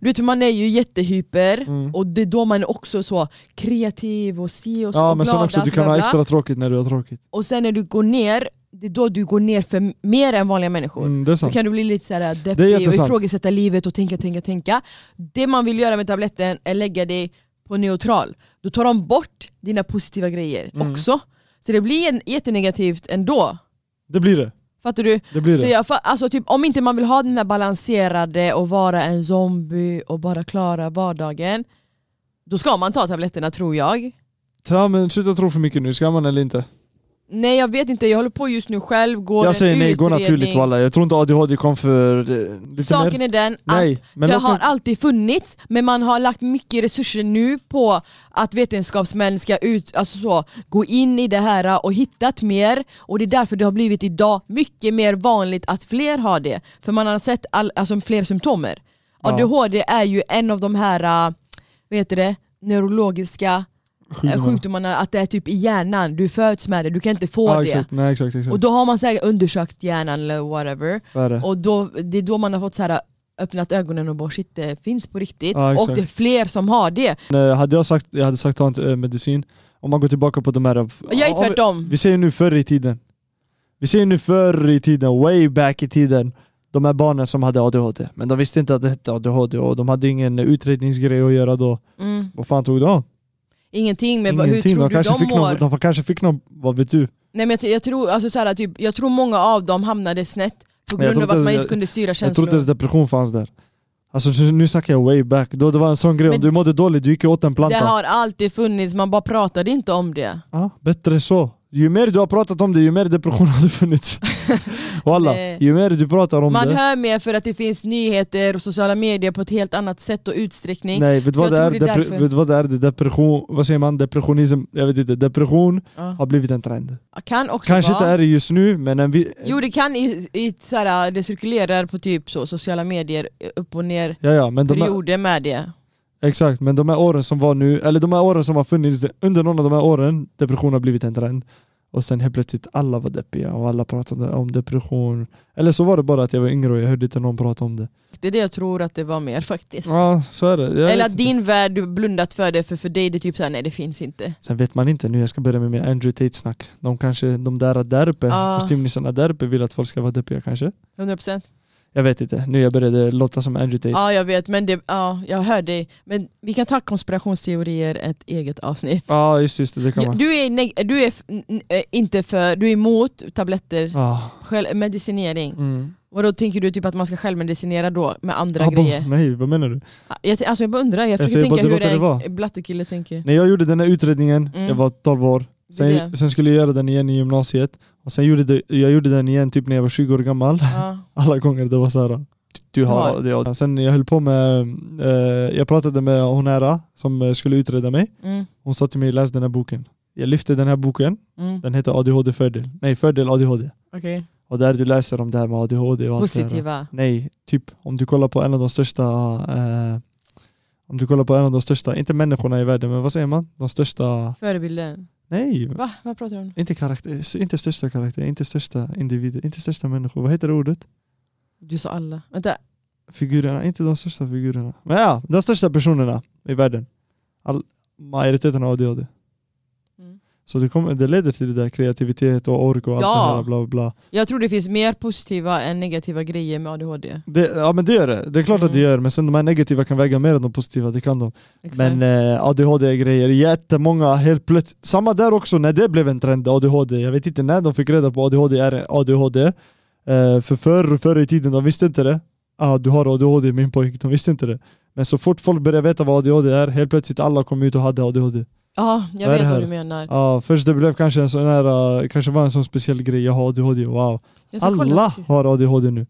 Speaker 2: Du vet man är ju jättehyper
Speaker 3: Mm.
Speaker 2: och det är då man är också så kreativ och si och så
Speaker 3: Ja
Speaker 2: och
Speaker 3: men sen
Speaker 2: glad,
Speaker 3: också, du
Speaker 2: alltså,
Speaker 3: kan
Speaker 2: bla,
Speaker 3: ha
Speaker 2: bla.
Speaker 3: extra tråkigt när du har tråkigt.
Speaker 2: Och sen när du går ner, det är då du går ner för mer än vanliga människor.
Speaker 3: Mm, det är
Speaker 2: Då
Speaker 3: sant.
Speaker 2: kan du bli lite så här äh,
Speaker 3: Det är
Speaker 2: deppig och
Speaker 3: jättesant.
Speaker 2: ifrågasätta livet och tänka, tänka, tänka. Det man vill göra med tabletten är lägga dig på neutral. Då tar de bort dina positiva grejer
Speaker 3: Mm.
Speaker 2: också. Så det blir en, jättenegativt ändå.
Speaker 3: Det blir det.
Speaker 2: Fattar du?
Speaker 3: Det blir
Speaker 2: Så
Speaker 3: det.
Speaker 2: jag, fa- alltså typ, om inte man vill ha den här balanserade och vara en zombie och bara klara vardagen, då ska man ta tabletterna tror jag.
Speaker 3: Ja, men sluta tro för mycket nu, ska man eller inte?
Speaker 2: Nej jag vet inte, jag håller på just nu själv, går en
Speaker 3: Jag säger nej, gå
Speaker 2: utredning.
Speaker 3: naturligt walla. Jag tror inte ADHD kom för eh, lite
Speaker 2: Saken
Speaker 3: mer.
Speaker 2: är den att
Speaker 3: Nej, men
Speaker 2: det
Speaker 3: låt
Speaker 2: har
Speaker 3: mig-
Speaker 2: alltid funnits, men man har lagt mycket resurser nu på att vetenskapsmän ska ut, alltså så, gå in i det här och hittat mer. Och det är därför det har blivit idag mycket mer vanligt att fler har det. För man har sett all, alltså fler symptomer.
Speaker 3: Ja.
Speaker 2: ADHD är ju en av de här, äh, vad heter det, neurologiska äh,
Speaker 3: Sjukdomar.
Speaker 2: sjukdomarna, att det är typ i hjärnan, du föds med det, du kan inte få
Speaker 3: Ja,
Speaker 2: det.
Speaker 3: exakt. Nej exakt, exakt.
Speaker 2: Och då har man säkert undersökt hjärnan eller whatever.
Speaker 3: så är det.
Speaker 2: Och då, det är då man har fått så här, äh, öppnat ögonen och bara shit det finns på riktigt.
Speaker 3: Ja, exakt.
Speaker 2: och det är fler som har det.
Speaker 3: Eh, Hade jag sagt, jag hade sagt ta inte eh, medicin. Om man går tillbaka på de här...
Speaker 2: Och jag är
Speaker 3: Ja, vi-
Speaker 2: tvärtom.
Speaker 3: Vi säger nu förr i tiden. Vi ser ju nu förr i tiden, way back i tiden, de här barnen som hade ADHD. Men de visste inte att det hette ADHD och de hade ingen eh, utredningsgrej att göra då.
Speaker 2: Mm.
Speaker 3: Vad fan tog de?
Speaker 2: Ingenting, men vad- hur
Speaker 3: Ingenting.
Speaker 2: tror
Speaker 3: De
Speaker 2: du
Speaker 3: kanske,
Speaker 2: de
Speaker 3: fick
Speaker 2: mår?
Speaker 3: någon, de kanske fick någon, vad vet du?
Speaker 2: Nej, men jag, t- jag, tror, alltså, så här, typ, jag tror många av dem hamnade snett på
Speaker 3: Men
Speaker 2: grund
Speaker 3: jag tror
Speaker 2: av att
Speaker 3: inte-
Speaker 2: man inte
Speaker 3: jag-
Speaker 2: kunde styra
Speaker 3: Jag trodde
Speaker 2: känslor.
Speaker 3: inte ens depression fanns där. Alltså nu- nu snackar jag way back. Då det var en sån grej,
Speaker 2: Men-
Speaker 3: om du mådde dåligt, du gick ju åt en
Speaker 2: Det
Speaker 3: planta.
Speaker 2: har alltid funnits, man bara pratade inte om det.
Speaker 3: Ja, bättre så. Ju mer du har pratat om det, ju mer depression har det funnits. Walla,
Speaker 2: Nej.
Speaker 3: ju mer du pratar om
Speaker 2: Man
Speaker 3: det.
Speaker 2: hör mer för att det finns nyheter och sociala medier på ett helt annat sätt och utsträckning.
Speaker 3: Nej, vet du
Speaker 2: Så
Speaker 3: vad, det är?
Speaker 2: jag tror det är
Speaker 3: Depre-
Speaker 2: därför.
Speaker 3: vet du vad det är? Det är depression, vad säger man? Depressionism, jag vet inte. Depression
Speaker 2: Ja.
Speaker 3: har blivit en trend.
Speaker 2: Kan också
Speaker 3: Kanske
Speaker 2: vara.
Speaker 3: inte är det just nu, men en vi...
Speaker 2: Jo det kan, i, i, så här, det cirkulerar på typ så, sociala medier, upp och ner
Speaker 3: ja, ja, men de här,
Speaker 2: perioder med det.
Speaker 3: exakt, men de här åren som var nu, eller de här åren som har funnits, det- under någon av de här åren, depression har blivit en trend. Och sen helt plötsligt alla var deppiga och alla pratade om depression. Eller så var det bara att jag var yngre och jag hörde inte någon prata om det.
Speaker 2: Det är det jag tror att det var mer faktiskt.
Speaker 3: Ja, så är det. Jag
Speaker 2: Eller
Speaker 3: vet
Speaker 2: att
Speaker 3: inte.
Speaker 2: din värld, du blundat för det, för för dig det är typ såhär, nej det finns inte.
Speaker 3: Sen vet man inte nu, jag ska börja med min Andrew Tate-snack. De kanske, de där där uppe,
Speaker 2: Ja.
Speaker 3: kostymnissarna där uppe vill att folk ska vara deppiga kanske.
Speaker 2: 100%?
Speaker 3: Jag vet inte, nu jag började låta som Andrew Tate.
Speaker 2: Ja jag vet, men det, ja, jag hör dig. Men vi kan ta konspirationsteorier ett eget avsnitt.
Speaker 3: Ja just just det, det kan
Speaker 2: Ja,
Speaker 3: man.
Speaker 2: Du är, neg- du är f- n- n- eh, inte för, du är emot tabletter,
Speaker 3: Ah,
Speaker 2: själv- medicinering.
Speaker 3: mm.
Speaker 2: Vadå tänker du typ att man ska självmedicinera då med andra
Speaker 3: Ah, bo-
Speaker 2: grejer?
Speaker 3: nej, vad menar du?
Speaker 2: Jag, t- alltså jag bara undrar, jag
Speaker 3: säger
Speaker 2: försöker
Speaker 3: bara, det
Speaker 2: tänka
Speaker 3: låter det
Speaker 2: hur
Speaker 3: vara.
Speaker 2: en blattekille tänker.
Speaker 3: När jag gjorde den här utredningen,
Speaker 2: Mm.
Speaker 3: jag var 12 år,
Speaker 2: Det är
Speaker 3: sen,
Speaker 2: det.
Speaker 3: sen skulle jag göra den igen i gymnasiet, och sen gjorde det, jag gjorde den igen typ när jag var 20 år gammal.
Speaker 2: Ja.
Speaker 3: Alla gånger det var såhär, du har det. Och Sen jag höll på med, eh, jag pratade med hon här som eh, skulle utreda mig,
Speaker 2: Mm.
Speaker 3: hon sa till mig läs den här boken. Jag lyfte den här boken,
Speaker 2: Mm.
Speaker 3: Den heter ADHD fördel. Nej, fördel ADHD.
Speaker 2: Okej.
Speaker 3: Och där du läser om det här med ADHD och allt det här.
Speaker 2: Positiva.
Speaker 3: Nej, typ om du kollar på en av de största eh, om du kollar på en av de största, inte människorna i världen, men vad säger man? De största,
Speaker 2: Förebilden.
Speaker 3: nej,
Speaker 2: Va? Vad pratar du om?
Speaker 3: inte karaktär, inte största karaktär, inte största individer, inte största människor. Vad heter det ordet?
Speaker 2: Du sa alla. Vänta.
Speaker 3: Figurerna, inte de största figurerna. Men ja, de största personerna i världen. All, majoriteten har ADHD.
Speaker 2: Mm.
Speaker 3: Så det, kommer, det leder till det där kreativitet och ork och allt
Speaker 2: Ja.
Speaker 3: det här bla bla bla.
Speaker 2: Jag tror det finns mer positiva än negativa grejer med ADHD.
Speaker 3: Det, ja men det gör det, det är klart att det
Speaker 2: Mm.
Speaker 3: gör men sen de här negativa kan väga mer än de positiva, det kan de.
Speaker 2: Exakt.
Speaker 3: Men eh, ADHD-grejer, jättemånga helt plötsligt. Samma där också när det blev en trend, ADHD. Jag vet inte när de fick reda på ADHD är ADHD. Eh, för förr, förr i tiden, de visste inte det. Ah, du har ADHD min pojk, de visste inte det. Men så fort folk började veta vad ADHD är, helt plötsligt alla kom ut och hade ADHD.
Speaker 2: Mm. ja, jag
Speaker 3: vad är
Speaker 2: vet
Speaker 3: det
Speaker 2: vad
Speaker 3: här?
Speaker 2: du menar.
Speaker 3: Ja, Ah, först det blev kanske en sån här, eh, kanske var en sån speciell grej, jag har ADHD, wow.
Speaker 2: Jag ska kolla
Speaker 3: Alla
Speaker 2: faktiskt.
Speaker 3: har ADHD nu.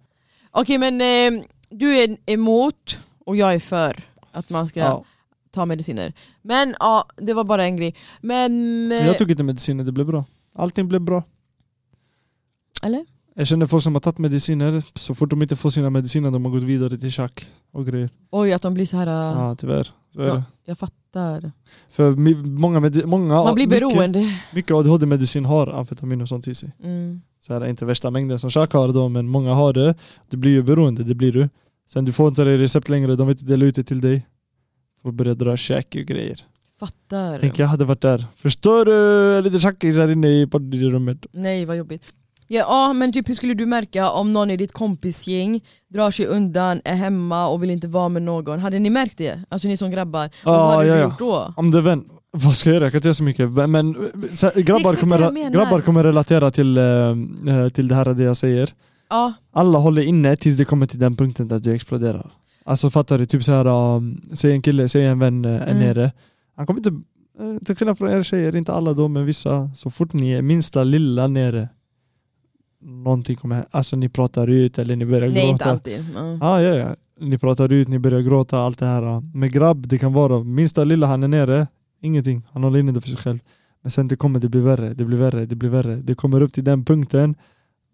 Speaker 2: Okej men eh, du är emot och jag är för att man ska
Speaker 3: Ja.
Speaker 2: ta mediciner. Men ja, det var bara en grej. Men... eh,
Speaker 3: Jag tog inte mediciner, det blev bra. Allting blev bra.
Speaker 2: Eller?
Speaker 3: Jag känner folk som har tagit mediciner, så fort de inte får sina mediciner de har gått vidare till schack och grejer.
Speaker 2: Oj att de blir så här.
Speaker 3: Ja,
Speaker 2: eh,
Speaker 3: tyvärr. Så är
Speaker 2: Ja.
Speaker 3: det.
Speaker 2: jag fattar.
Speaker 3: För mi- många, medi- många
Speaker 2: Man blir beroende.
Speaker 3: Mycket, mycket ADHD-medicin har amfetamin och sånt i sig.
Speaker 2: Mm.
Speaker 3: Så här är inte värsta mängden som schack har då, men många har det. Du blir ju beroende, det blir du. Sen du får inte det recept längre, de vill inte dela ut det till dig. Folk börjar dra käk och grejer.
Speaker 2: Fattar.
Speaker 3: Tänk jag hade varit där. Förstår du? Lite tjackis här inne i poddrummet.
Speaker 2: Nej vad jobbigt. Ja, ja men typ hur skulle du märka om någon i ditt kompisgäng drar sig undan, är hemma och vill inte vara med någon? Hade ni märkt det? Alltså ni som grabbar. Och vad
Speaker 3: Ja,
Speaker 2: hade
Speaker 3: ja,
Speaker 2: du
Speaker 3: ja.
Speaker 2: gjort då?
Speaker 3: Om det vän, vad ska jag göra? Jag kan inte göra så mycket. Men- Men så, här, grabbar,
Speaker 2: exakt vad jag
Speaker 3: kommer,
Speaker 2: menar.
Speaker 3: grabbar kommer relatera till, eh, till det här det jag säger.
Speaker 2: Ja,
Speaker 3: Alla håller inne tills det kommer till den punkten där du exploderar. Alltså fattar du? Typ så här, um, säg en kille, säg en vän uh, är
Speaker 2: Mm.
Speaker 3: nere. Han kommer inte, eh, till skillnad från er tjejer, inte alla då men vissa, så fort ni är minsta lilla nere, någonting kommer, alltså ni pratar ut eller ni börjar
Speaker 2: nej inte
Speaker 3: gråta.
Speaker 2: alltid. Ja.
Speaker 3: Ja, ja, ja. Ni pratar ut, ni börjar gråta, allt det här. Med grabb, det kan vara minsta lilla han är nere, ingenting. Han håller inne det för sig själv. Men sen det kommer, det blir värre, det blir värre, det blir värre. Det kommer upp till den punkten,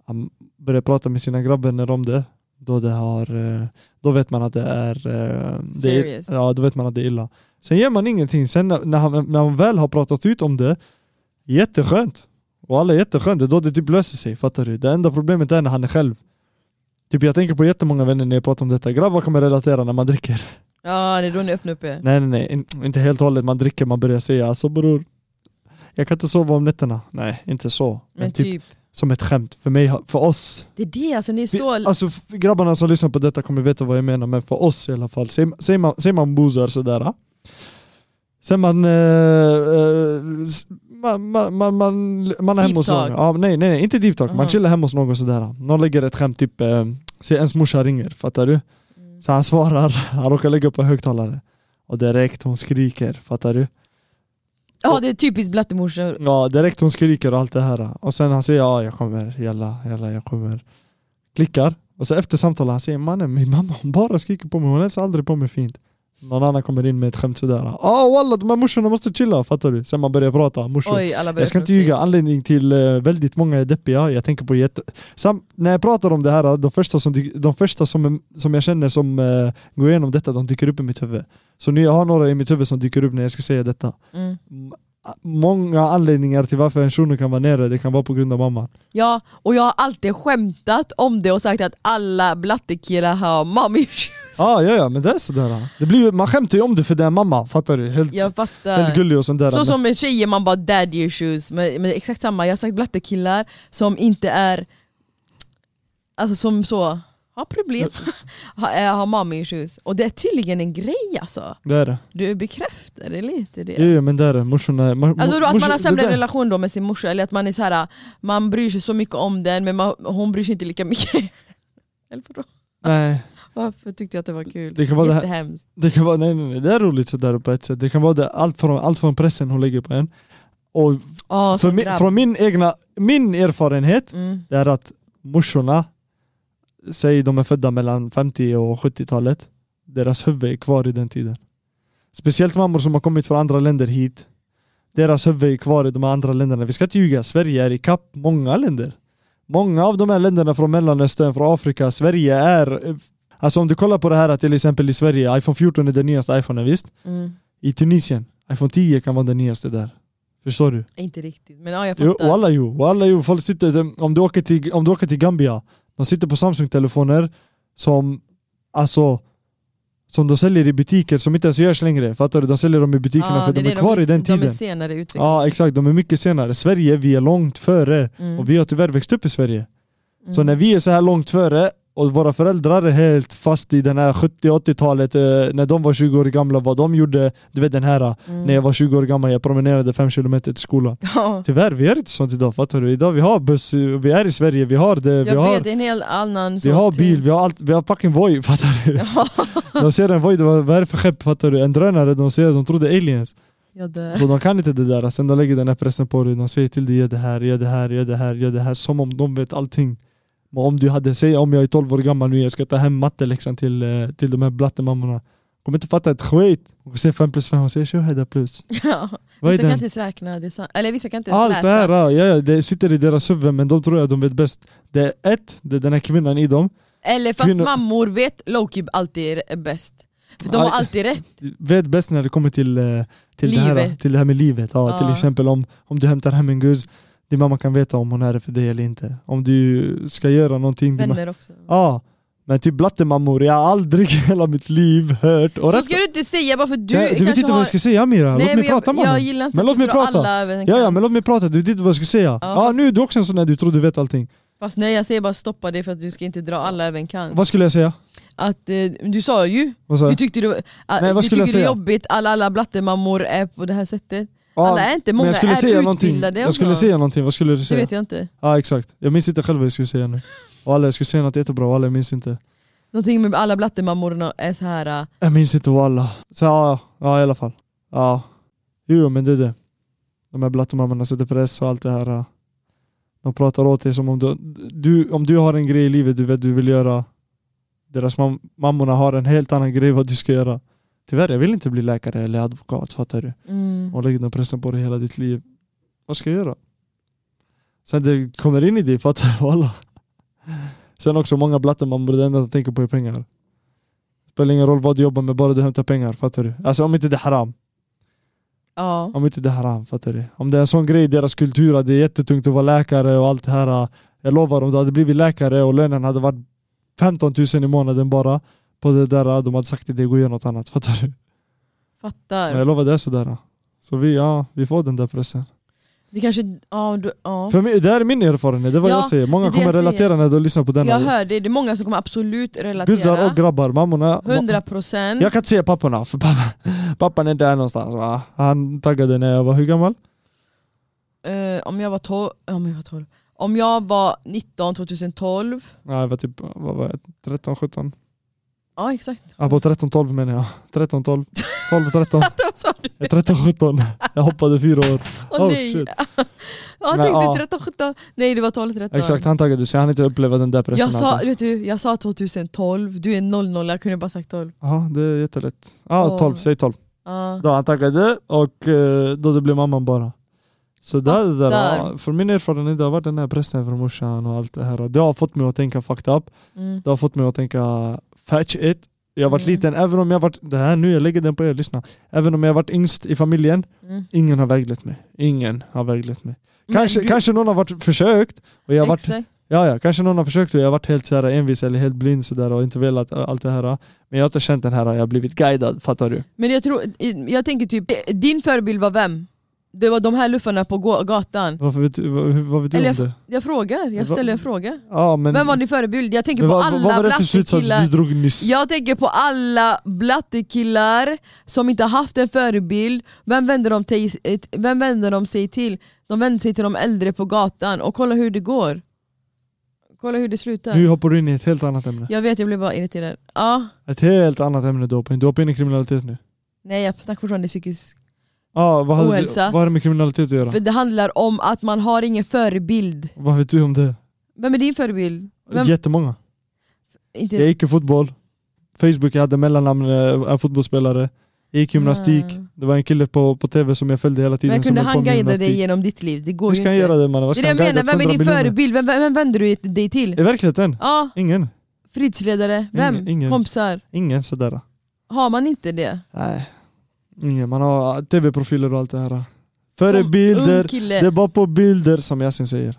Speaker 3: han börjar prata med sina grabbvänner om det. Då, det har, eh, då vet man att det är... eh, Det är
Speaker 2: Serious.
Speaker 3: ja, då vet man att det är illa. Sen gör man ingenting. Sen när, när, han, när han väl har pratat ut om det, jätteskönt. Och alla är jätteskönt, det är då det typ löser sig. Fattar du? Det enda problemet är när han är själv. Typ jag tänker på jättemånga vänner när jag pratar om detta. Grabbar kommer relatera när man dricker.
Speaker 2: ja, det är då ni öppnar upp er.
Speaker 3: Nej nej nej, in, inte helt och hållet. Man dricker, man börjar säga alltså bror. Jag kan inte sova om nätterna. Nej, inte så. Men,
Speaker 2: Men
Speaker 3: typ,
Speaker 2: typ,
Speaker 3: som ett skämt. För mig, har- för oss
Speaker 2: Det är det alltså, ni är
Speaker 3: Vi-
Speaker 2: så...
Speaker 3: Alltså f- grabbarna som lyssnar på detta kommer veta vad jag menar, men för oss i alla fall. Säger, säger, man, säger man bozar sådär. Säger man, eh, eh, s- man, man, man, man, man är
Speaker 2: Deep
Speaker 3: hemma hos någon.
Speaker 2: talk.
Speaker 3: Ja, nej, nej, nej, inte deep talk.
Speaker 2: Aha.
Speaker 3: Man chillar hemma hos någon sådär. Någon lägger ett skämt, typ, eh, säg ens morsa ringer, fattar du?
Speaker 2: Mm.
Speaker 3: Så han svarar, han råkar lägga upp en högtalare. Och direkt hon skriker, fattar du?
Speaker 2: Ja det är typiskt blattemorsor.
Speaker 3: Ja, direkt hon skriker och allt det här. Och sen han säger ja, jag kommer, jalla, jalla, jag kommer. Klickar. Och så efter samtalet han säger mannen, min mamma hon bara skriker på mig, hon hälsar aldrig på mig fint. Någon annan kommer in med ett skämt sådär. Ja walla, de här morsorna måste chilla, fattar du? Sen man börjar prata, morsor.
Speaker 2: Oj alla börjar typ-
Speaker 3: Jag ska inte
Speaker 2: prata.
Speaker 3: ljuga, anledning till eh, väldigt många är deppiga. Jag tänker på jätte... Sam- när jag pratar om det här, de första som, dyk- de första som, som jag känner som eh, går igenom detta, de dyker upp i mitt huvud. Så nu jag har några i mitt huvud som dyker upp när jag ska säga detta.
Speaker 2: Mm.
Speaker 3: M- många anledningar till varför en shuno kan vara nere, det kan vara på grund av mamma.
Speaker 2: Ja, och jag har alltid skämtat om det och sagt att alla blattekillar har mommy issues.
Speaker 3: Ah, ja, ja, men det är sådär. Det blir, ju- man skämtar ju om det för det är mamma, fattar du? Helt,
Speaker 2: Jag
Speaker 3: helt
Speaker 2: fattar.
Speaker 3: gullig och sånt där.
Speaker 2: Så
Speaker 3: Men-
Speaker 2: som med tjejer man bara daddy issues, men, men det är exakt samma. Jag har sagt blattekillar som inte är, alltså som så, har problem, har, eh, har mommy issues. Och det är tydligen en grej alltså.
Speaker 3: Det är det.
Speaker 2: Du bekräftade lite det.
Speaker 3: Ja. Ja, men det är det. Morsorna... är- mor-
Speaker 2: Alltså då att
Speaker 3: morsor-
Speaker 2: man har
Speaker 3: det
Speaker 2: sämre
Speaker 3: där-
Speaker 2: relation då med sin morsa, eller att man är så här, man bryr sig så mycket om den men man, hon bryr sig inte lika mycket. Eller vadå?
Speaker 3: Nej.
Speaker 2: Varför tyckte jag att det var kul?
Speaker 3: Det kan vara det här-
Speaker 2: Jättehemskt.
Speaker 3: Det kan vara, nej, nej, nej, det är roligt sådär på ett sätt. Det kan vara det, allt, från, allt från pressen hon lägger på en. Och
Speaker 2: Ja,
Speaker 3: för
Speaker 2: som
Speaker 3: min,
Speaker 2: grabb.
Speaker 3: från min egna, min erfarenhet
Speaker 2: Mm.
Speaker 3: det är att morsorna, säg de är födda mellan 50 och 70-talet, deras huvud är kvar i den tiden. Speciellt mammor som har kommit från andra länder hit. Deras huvud är kvar i de andra länderna. Vi ska inte ljuga, Sverige är i kapp många länder. Många av de här länderna från Mellanöstern, från Afrika, Sverige är... Alltså om du kollar på det här att till exempel i Sverige, iPhone 14 är den nyaste iPhonen, visst?
Speaker 2: Mm.
Speaker 3: I Tunisien, iPhone 10 kan vara den nyaste där. Förstår du?
Speaker 2: Inte riktigt, men ja jag
Speaker 3: Jo,
Speaker 2: fattar.
Speaker 3: walla jo, walla jo. Folk sitter, de, om, du åker till, om du åker till Gambia, de sitter på Samsung-telefoner som, alltså, som de säljer i butiker som inte ens görs längre. Fattar du? De säljer dem i butikerna
Speaker 2: Ja,
Speaker 3: för
Speaker 2: Ah, det
Speaker 3: de är
Speaker 2: det,
Speaker 3: kvar i den
Speaker 2: De är
Speaker 3: tiden.
Speaker 2: senare utvecklade.
Speaker 3: Ja exakt, de är mycket senare. Sverige, vi är långt före.
Speaker 2: Mm.
Speaker 3: Och vi har tyvärr växt upp i Sverige. Så
Speaker 2: Mm.
Speaker 3: när vi är så här långt före och våra föräldrar är helt fast i den här 70-80-talet, eh, när de var 20 år gamla, vad de gjorde, du vet den här, eh,
Speaker 2: Mm.
Speaker 3: när jag var 20 år gammal, jag promenerade 5 kilometer till skolan.
Speaker 2: Ja,
Speaker 3: Tyvärr, vi gör inte sånt idag fattar du? Idag vi har buss, vi är i Sverige, vi har det, vi
Speaker 2: jag
Speaker 3: har,
Speaker 2: vet, det är en hel annan
Speaker 3: vi
Speaker 2: sorts
Speaker 3: har
Speaker 2: tid.
Speaker 3: bil, vi har allt, vi har fucking Voi fattar du?
Speaker 2: Ja,
Speaker 3: De ser en Voi, de bara, vad är det för skepp fattar du? En drönare, de ser, de trodde aliens.
Speaker 2: jag dör.
Speaker 3: Så de kan inte det där, sen de lägger den här pressen på dig, de säger till dig gör det här, gör det här, gör det här, gör det här, som om de vet allting. Men om du hade, säg om jag är 12 år gammal nu, jag ska ta hem matteläxan till, eh, till de här blattemammorna. Kommer inte fatta ett skit! Hon säger 5 plus 5, hon säger 20 plus.
Speaker 2: Ja.
Speaker 3: Vad är
Speaker 2: Vissa kan
Speaker 3: den?
Speaker 2: inte ens räkna, det är sant. eller vissa kan inte ens
Speaker 3: Allt
Speaker 2: läsa.
Speaker 3: det här, ja, ja, det sitter i deras huvud men de tror att de vet bäst. Det är ett, det är den här kvinnan i dem.
Speaker 2: Eller fast
Speaker 3: Kvinnor-
Speaker 2: mammor vet Loki alltid är bäst. För de har
Speaker 3: Aj.
Speaker 2: alltid rätt.
Speaker 3: Vet bäst när det kommer till, eh, till, det, här,
Speaker 2: Livet.
Speaker 3: till det här med livet. Ja,
Speaker 2: Ja.
Speaker 3: Till exempel om, om du hämtar hem en gus, din mamma kan veta om hon är det för dig eller inte. Om du ska göra någonting. din ma-
Speaker 2: Vänner också.
Speaker 3: Ja, men typ blattemammor, jag har aldrig i hela mitt liv hört. Och
Speaker 2: Så
Speaker 3: rätt-
Speaker 2: ska du inte säga bara för du
Speaker 3: Nej, du vet
Speaker 2: kanske
Speaker 3: inte
Speaker 2: har...
Speaker 3: vad jag ska säga Amira, låt mig
Speaker 2: men
Speaker 3: prata
Speaker 2: jag,
Speaker 3: mannen.
Speaker 2: jag gillar inte
Speaker 3: Men
Speaker 2: att
Speaker 3: låt
Speaker 2: du
Speaker 3: mig
Speaker 2: drar
Speaker 3: prata.
Speaker 2: alla över en
Speaker 3: Ja, ja,
Speaker 2: kam.
Speaker 3: men låt mig prata, du vet inte vad jag ska säga.
Speaker 2: Ja,
Speaker 3: Ja,
Speaker 2: fast-
Speaker 3: nu är du också en sån där du tror du vet allting.
Speaker 2: Fast nej jag säger bara stoppa dig för att du ska inte dra alla över en kam.
Speaker 3: Vad skulle jag säga?
Speaker 2: Att, eh, du sa ju,
Speaker 3: Vad sa
Speaker 2: du
Speaker 3: jag?
Speaker 2: tyckte, du, att,
Speaker 3: Nej, vad
Speaker 2: du
Speaker 3: skulle jag
Speaker 2: tyckte det är
Speaker 3: säga?
Speaker 2: jobbigt alla, alla blattemammor är på det här sättet.
Speaker 3: Ja,
Speaker 2: alla är inte,
Speaker 3: Men
Speaker 2: många
Speaker 3: jag skulle
Speaker 2: är
Speaker 3: säga någonting.
Speaker 2: utbildade.
Speaker 3: Jag skulle
Speaker 2: också.
Speaker 3: säga någonting, vad skulle du
Speaker 2: Det
Speaker 3: säga?
Speaker 2: vet jag inte.
Speaker 3: Ja exakt, jag minns inte själv vad jag skulle säga nu. Och alla, jag skulle säga något jättebra, och alla, jag minns inte.
Speaker 2: Någonting med alla blattemammorna är så här. eh,
Speaker 3: Jag minns inte och alla. Så ja, ja i alla fall. Ja. Jo men det är det. De här blattemammorna sätter press och allt det här. ja. De pratar åt dig som om du, du, om du har en grej i livet du vet du vill göra. Deras mam- mammorna har en helt annan grej vad du ska göra. Tyvärr, jag vill inte bli läkare eller advokat, fattar du?
Speaker 2: mm.
Speaker 3: och lägger den pressen på dig hela ditt liv. Vad ska jag göra? Sen det kommer in i dig, fattar du? Alla. Sen också många blattemammor, det enda de tänker på är pengar. Spelar ingen roll vad du jobbar med, bara du hämtar pengar, fattar du? Alltså om inte det är haram.
Speaker 2: Ja.
Speaker 3: Om inte det är haram, fattar du? Om det är en sån grej i deras kultur, att det är jättetungt att vara läkare och allt det här. äh, Jag lovar, om du hade blivit läkare och lönen hade varit 15 000 i månaden bara på det där, äh, de hade sagt till dig gå och göra något annat, fattar du?
Speaker 2: Fattar.
Speaker 3: Jag lovar, det är sådär. Så vi, ja, vi får den där pressen.
Speaker 2: Det kanske, ja, du, ja.
Speaker 3: För mig, det här är min erfarenhet, det är vad
Speaker 2: Ja,
Speaker 3: jag säger.
Speaker 2: det
Speaker 3: Många
Speaker 2: är det jag
Speaker 3: kommer
Speaker 2: säger.
Speaker 3: relatera när de lyssnar på
Speaker 2: Jag
Speaker 3: denna.
Speaker 2: hör det, det är många som kommer absolut
Speaker 3: Guzzar och
Speaker 2: relatera.
Speaker 3: grabbar, mammorna.
Speaker 2: 100 procent.
Speaker 3: Jag kan inte säga papporna, för pappa, pappan är där någonstans va? Han taggade när jag var hur gammal?
Speaker 2: Eh, om jag var 12, om jag var 12. Om jag var 19 2012,
Speaker 3: Ja, jag var typ vad var jag, 13, 17?
Speaker 2: ja exakt.
Speaker 3: Ja, på 13, 12 menar jag. 13, 12. 12, 13.
Speaker 2: Vad sa du?
Speaker 3: Ja, 13, 17. Jag hoppade fyra år.
Speaker 2: Åh
Speaker 3: Oh,
Speaker 2: nej.
Speaker 3: shit.
Speaker 2: Ja,
Speaker 3: Men, ja.
Speaker 2: jag tänkte 13, 17. Nej det var 12, 13.
Speaker 3: Exakt, han taggade sig. Han inte uppleva den där pressen. alltså.
Speaker 2: Jag sa,
Speaker 3: alltid.
Speaker 2: vet du, jag sa 2012, du är 00, jag kunde bara sagt 12.
Speaker 3: Ja, det är jättelätt. Ja,
Speaker 2: Åh.
Speaker 3: 12. Säg 12.
Speaker 2: Ja.
Speaker 3: Då han taggade och eh, då det blev mamman bara. Så
Speaker 2: Ah,
Speaker 3: där, det där,
Speaker 2: Fattar.
Speaker 3: ja, för min erfarenhet det har varit den här pressen från morsan och allt det här. Det har fått mig att tänka fucked up.
Speaker 2: Mm.
Speaker 3: Det har fått mig att tänka fetch it. Jag har varit
Speaker 2: Mm.
Speaker 3: liten, även om jag har varit, det här nu jag lägger den på er, lyssna. Även om jag har varit yngst i familjen,
Speaker 2: Mm.
Speaker 3: ingen har väglett mig. Ingen har väglett mig.
Speaker 2: Men
Speaker 3: Kanske,
Speaker 2: du-
Speaker 3: kanske någon har varit, försökt och jag har varit,
Speaker 2: Exakt.
Speaker 3: ja, ja, kanske någon har försökt och jag har varit helt så här envis eller helt blind sådär och inte velat ä, allt det här. Men jag har inte känt den här, jag har blivit guidad, fattar du?
Speaker 2: Men jag tror, jag tänker typ, din förebild var vem? Det var de här luffarna på gå- gatan.
Speaker 3: Varför vet, du- vad, vad vet du
Speaker 2: Eller
Speaker 3: om det?
Speaker 2: Jag frågar, jag
Speaker 3: Va-
Speaker 2: ställer en fråga.
Speaker 3: Ja, men,
Speaker 2: Vem var din förebild? Jag tänker
Speaker 3: men
Speaker 2: på
Speaker 3: vad, vad var
Speaker 2: alla
Speaker 3: det för slutsats du
Speaker 2: blattekillar.
Speaker 3: drog nyss?
Speaker 2: Jag tänker på alla blattekillar som inte har haft en förebild. Vem vänder, de till, eh, vem vänder de sig till? De vänder sig till de äldre på gatan och kolla hur det går. Kolla hur det slutar.
Speaker 3: Nu hoppar du in i ett helt annat ämne.
Speaker 2: Jag vet, jag blir bara irriterad. Ja,
Speaker 3: Ett helt annat ämne du hoppar in. Du hoppar in i kriminalitet nu.
Speaker 2: nej jag snackar fortfarande psykisk.
Speaker 3: Ja, vad, hade, du-
Speaker 2: Ohälsa.
Speaker 3: vad har det med kriminalitet att göra?
Speaker 2: För det handlar om att man har ingen förebild.
Speaker 3: Vad vet du om det?
Speaker 2: Vem är din förebild? Vem,
Speaker 3: Jättemånga.
Speaker 2: inte,
Speaker 3: Jag gick i fotboll, Facebook, jag hade mellannamn, eh, en fotbollsspelare. Jag gick gymnastik,
Speaker 2: Ah.
Speaker 3: det var en kille på, på tv som jag följde hela tiden
Speaker 2: men
Speaker 3: som
Speaker 2: kunde
Speaker 3: höll på
Speaker 2: han
Speaker 3: med
Speaker 2: guida dig
Speaker 3: gymnastik.
Speaker 2: genom ditt liv? Det går
Speaker 3: Hur
Speaker 2: ju
Speaker 3: ska han
Speaker 2: inte.
Speaker 3: göra det mannen? Vad
Speaker 2: det
Speaker 3: ska
Speaker 2: är det
Speaker 3: han
Speaker 2: jag
Speaker 3: guida
Speaker 2: menar, vem är din
Speaker 3: 200 miljoner?
Speaker 2: förebild? Vem, vem, vem vänder du dig till?
Speaker 3: I verkligheten?
Speaker 2: Ja,
Speaker 3: Ingen.
Speaker 2: fritidsledare, vem?
Speaker 3: Ingen, ingen.
Speaker 2: Kompisar?
Speaker 3: Ingen sådär.
Speaker 2: Har man inte det?
Speaker 3: Nej. Ingen. Man har tv-profiler och allt det här.
Speaker 2: Som ung
Speaker 3: Förebilder.
Speaker 2: kille.
Speaker 3: Det är bara på bilder som Yasin säger.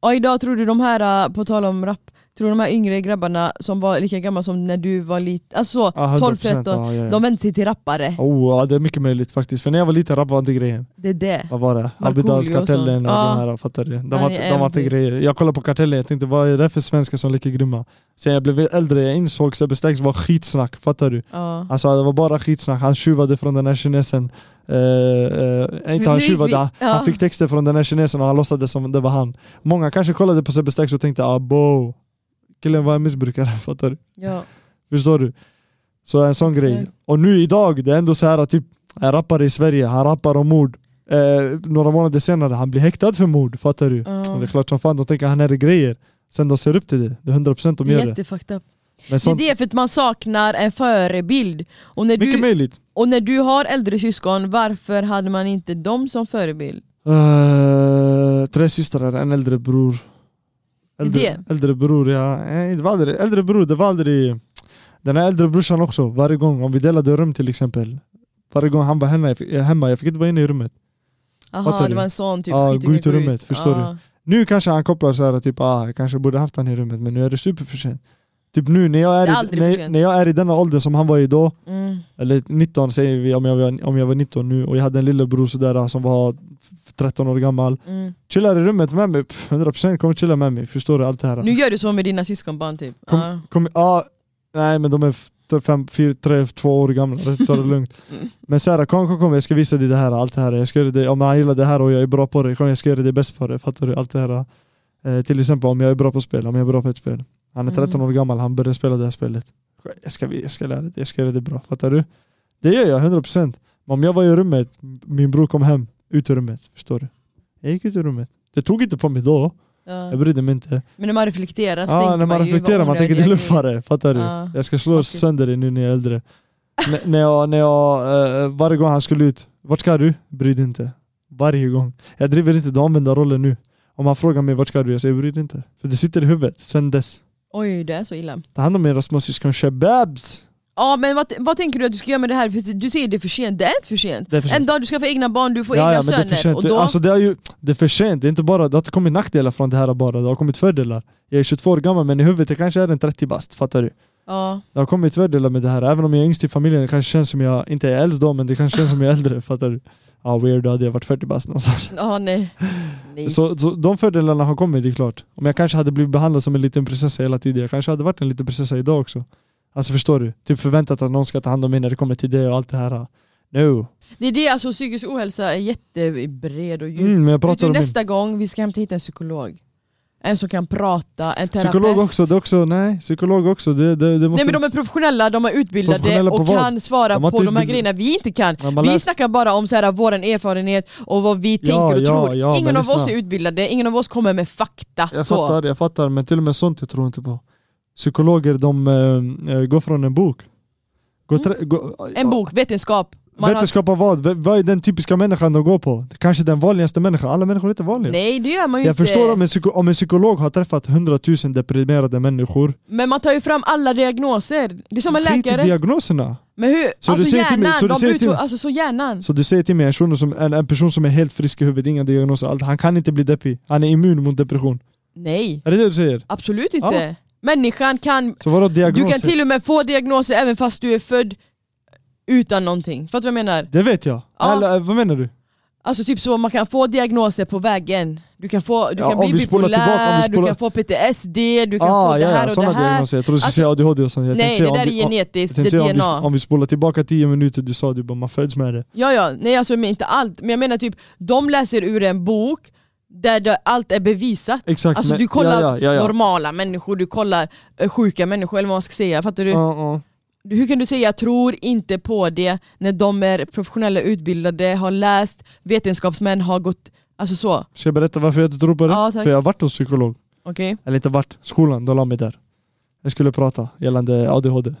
Speaker 2: Och idag tror du de här, äh, på tal om rap, tror du de här yngre grabbarna som var lika gamla som när du var liten, alltså
Speaker 3: Ja, 100%,
Speaker 2: 12, 13,
Speaker 3: ja, ja, ja.
Speaker 2: de vände sig till rappare.
Speaker 3: Oh, ja, det är mycket möjligt faktiskt. För när jag var liten rap var inte grejen.
Speaker 2: Det är det.
Speaker 3: Vad var det?
Speaker 2: Markoolio och
Speaker 3: Abidalskartellen och, och
Speaker 2: sånt.
Speaker 3: de här, fattar du? De
Speaker 2: Han
Speaker 3: var,
Speaker 2: är
Speaker 3: de var inte
Speaker 2: MD.
Speaker 3: grejer. Jag kollade på kartellen, jag tänkte vad är det för svenskar som leker grymma? Sen jag blev äldre, jag insåg Sebbe Stax var skitsnack, fattar du?
Speaker 2: Ja.
Speaker 3: Alltså det var bara skitsnack, han tjuvade från den här kinesen. Eh, eh, inte han
Speaker 2: Nu gick
Speaker 3: tjuvade,
Speaker 2: vi-
Speaker 3: han-
Speaker 2: ja.
Speaker 3: han fick texter från den här kinesen och han låtsades som det var han. Många kanske kollade på Sebbe Stax och tänkte ah bo, killen var en missbrukare, fattar du?
Speaker 2: Ja.
Speaker 3: Förstår du? Så en sån
Speaker 2: Exakt.
Speaker 3: grej. Och nu idag, det är ändå så här att typ en rappare i Sverige, han rappar om mord. Eh, några månader senare, han blir häktad för mord, fattar du?
Speaker 2: Ja.
Speaker 3: Det är klart som fan, de tänker han är grejer. Sen de ser upp till det, det är 100% de
Speaker 2: Det är
Speaker 3: gör det.
Speaker 2: jättefucked up.
Speaker 3: Men
Speaker 2: Det är
Speaker 3: sånt,
Speaker 2: det för att man saknar en förebild. Och när,
Speaker 3: mycket
Speaker 2: du,
Speaker 3: möjligt.
Speaker 2: och när du har äldre syskon, varför hade man inte dem som förebild?
Speaker 3: Eh, tre systrar, en äldre bror.
Speaker 2: är
Speaker 3: Äldre,
Speaker 2: det.
Speaker 3: äldre bror, ja. Eh, Det var aldrig, äldre bror, det var aldrig... Den här äldre brorsan också, varje gång, om vi delade rum till exempel. Varje gång han var hemma, jag fick, hemma, jag fick inte vara inne i rummet. Fattar
Speaker 2: Aha,
Speaker 3: du?
Speaker 2: det var en sån typ.
Speaker 3: Ja,
Speaker 2: skit,
Speaker 3: gå ut
Speaker 2: gå
Speaker 3: ur rummet, förstår du?
Speaker 2: Ja.
Speaker 3: Nu kanske han kopplar så här typ ah, jag kanske borde haft han i rummet men nu är det superförsent. Typ nu när jag
Speaker 2: Det är
Speaker 3: är, i,
Speaker 2: aldrig för
Speaker 3: när,
Speaker 2: sent.
Speaker 3: när jag är i denna åldern som han var i då,
Speaker 2: Mm.
Speaker 3: eller 19 säger vi om jag var, om jag var 19 nu och jag hade en lillebror sådär ah, som var 13 år gammal.
Speaker 2: Mm.
Speaker 3: Chillar i rummet med mig, pff, 100% kommer chilla med mig, förstår du allt det här?
Speaker 2: Nu gör du så med dina syskonbarn typ.
Speaker 3: Kom-
Speaker 2: Ja.
Speaker 3: Kom, ah, nej men de är 5, 4, 3, 2 år gamla, det tar det lugnt. Men såhär, kom, kom, kom jag ska visa dig det här, allt det här. Jag ska göra dig, om han gillar det här och jag är bra på det, kom jag ska göra det bäst på det. Fattar du? Allt det här. Eh, till exempel om jag är bra på spel, om jag är bra på ett spel. Han är
Speaker 2: Mm.
Speaker 3: 13 år gammal, han börjar spela det här spelet. Jag ska, jag ska lära dig, jag ska göra det bra. Fattar du? Det gör jag, 100%. Men om jag var i rummet, min bror kom hem, ut ur rummet. Förstår du? Jag gick ut ur rummet. Det tog inte på mig då,
Speaker 2: Ja.
Speaker 3: jag brydde mig inte.
Speaker 2: Men när man reflekterar så
Speaker 3: Ja,
Speaker 2: tänker
Speaker 3: när man
Speaker 2: ju vad
Speaker 3: reflekterar, man tänker
Speaker 2: onödiga
Speaker 3: det är
Speaker 2: grejer.
Speaker 3: luffare, fattar du?
Speaker 2: Ja.
Speaker 3: Jag ska slå
Speaker 2: Okej.
Speaker 3: sönder dig nu när jag är äldre. N- när jag, när jag, eh, varje gång han skulle ut, vart ska du? Bry dig inte. Varje gång. Jag driver inte den använda rollen nu. Om han frågar mig vart ska du? Jag säger bry dig inte. För det sitter i huvudet sen dess.
Speaker 2: Oj, det är så illa.
Speaker 3: Ta hand om era småsyskon shababs!
Speaker 2: Ja men vad, vad tänker du att du ska göra med det här? För Du säger det är för sent, det är inte för sent.
Speaker 3: Det är för
Speaker 2: En
Speaker 3: sent.
Speaker 2: dag du ska få egna barn, du får egna
Speaker 3: men det är för
Speaker 2: söner.
Speaker 3: sent.
Speaker 2: Och då,
Speaker 3: Alltså, det, är ju, det är för sent, det, är inte bara, det har inte kommit nackdelar från det här bara, det har kommit fördelar. Jag är 22 år gammal men i huvudet kanske är en 30 bast, fattar du?
Speaker 2: ja,
Speaker 3: Det har kommit fördelar med det här, även om jag är yngst i familjen, det kanske känns som jag inte är äldst då, men det kanske känns som jag är äldre, fattar du? ja weird då hade jag varit 40 bast någonstans.
Speaker 2: Ja, nej. nej.
Speaker 3: Så, så de fördelarna har kommit, det är klart. Om jag kanske hade blivit behandlad som en liten prinsessa hela tiden, jag kanske hade varit en liten prinsessa idag också. Alltså förstår du? Typ förväntat att någon ska ta hand om mig när det kommer till det och allt det här.
Speaker 2: Mm.
Speaker 3: No. Mm,
Speaker 2: Det är det, alltså psykisk ohälsa är jättebred och djup.
Speaker 3: Mm, men jag
Speaker 2: Vet
Speaker 3: pratar
Speaker 2: du,
Speaker 3: om min
Speaker 2: nästa gång vi ska hämta hit en psykolog. En som kan prata, en terapeut.
Speaker 3: psykolog också, det är också, nej, psykolog också, det, det, det måste...
Speaker 2: Nej men de är professionella, de är utbildade
Speaker 3: Professionella på
Speaker 2: och
Speaker 3: vad?
Speaker 2: kan svara
Speaker 3: De har
Speaker 2: på
Speaker 3: inte
Speaker 2: de här
Speaker 3: utbild-
Speaker 2: grejerna vi inte kan.
Speaker 3: Ja, man
Speaker 2: vi
Speaker 3: läser-
Speaker 2: snackar bara om så här, vår erfarenhet och vad vi tänker och
Speaker 3: ja,
Speaker 2: tror.
Speaker 3: ja, men
Speaker 2: ingen av oss
Speaker 3: lyssna.
Speaker 2: är utbildade, ingen av oss kommer med fakta.
Speaker 3: Jag
Speaker 2: så.
Speaker 3: fattar, jag fattar, men till och med sånt jag tror inte på. Psykologer, de eh, går från en bok. Går trä- går-
Speaker 2: Mm. En bok, vetenskap. Man
Speaker 3: Vetenskap av vad? V- Vad är den typiska människan de går på? Kanske den vanligaste människan. Alla människor är inte
Speaker 2: har...
Speaker 3: vanliga.
Speaker 2: Nej det gör man ju
Speaker 3: jag
Speaker 2: inte.
Speaker 3: förstår om en, psyko- om en psykolog har träffat hundratusen deprimerade människor.
Speaker 2: Men man tar ju fram alla diagnoser. Det är som en
Speaker 3: Skit i
Speaker 2: läkare.
Speaker 3: diagnoserna.
Speaker 2: Men hur?
Speaker 3: Så du
Speaker 2: alltså
Speaker 3: säger till mig-
Speaker 2: hjärnan,
Speaker 3: så du
Speaker 2: de
Speaker 3: säger till
Speaker 2: utrå-
Speaker 3: mig-
Speaker 2: alltså så hjärnan.
Speaker 3: Så du säger till mig en person som, en, en person som är helt frisk i huvudet, inga diagnoser, allt. Han kan inte bli deppig. Han är immun mot depression.
Speaker 2: Nej,
Speaker 3: Är det det du säger?
Speaker 2: absolut inte. Människan kan
Speaker 3: Så vadå diagnoser?
Speaker 2: Du kan till och med få diagnoser även fast du är född utan någonting. Fattar du vad jag menar?
Speaker 3: Det vet jag.
Speaker 2: Ja.
Speaker 3: Eller, eh, vad menar du?
Speaker 2: Alltså typ så, man kan få diagnoser på vägen. Du kan, få, du
Speaker 3: Ja,
Speaker 2: kan
Speaker 3: om
Speaker 2: bli
Speaker 3: vi spolar
Speaker 2: bipolär,
Speaker 3: tillbaka, om vi
Speaker 2: du
Speaker 3: spolar- Ah,
Speaker 2: kan få PTSD, du kan få det
Speaker 3: ja,
Speaker 2: här
Speaker 3: ja,
Speaker 2: och det
Speaker 3: sådana
Speaker 2: här.
Speaker 3: diagnoser. Jag trodde du skulle
Speaker 2: Alltså-
Speaker 3: säga ADHD och sånt. Jag tänkte
Speaker 2: Nej,
Speaker 3: säga
Speaker 2: det där
Speaker 3: om
Speaker 2: är
Speaker 3: vi- om- jag
Speaker 2: genetiskt, det
Speaker 3: tänkte säga
Speaker 2: är
Speaker 3: om vi,
Speaker 2: DNA.
Speaker 3: om vi spolar tillbaka 10 minuter, du sa du bara man föds med det.
Speaker 2: Ja, ja, nej alltså men inte allt. Men jag menar typ, de läser ur en bok där det, allt är bevisat.
Speaker 3: Exakt.
Speaker 2: Alltså
Speaker 3: men-
Speaker 2: du kollar
Speaker 3: ja, ja, ja, ja.
Speaker 2: normala människor, du kollar eh, sjuka människor eller vad man ska säga. Fattar du?
Speaker 3: Ja, ja.
Speaker 2: Du- Hur kan du säga jag tror inte på det när de är professionella utbildade, har läst, vetenskapsmän har gått... Alltså så,
Speaker 3: Ska jag berätta varför jag inte tror på det?
Speaker 2: Ja, tack.
Speaker 3: För jag har varit hos psykolog.
Speaker 2: okej?
Speaker 3: Eller inte varit, skolan, de la mig där. Jag skulle prata gällande ADHD.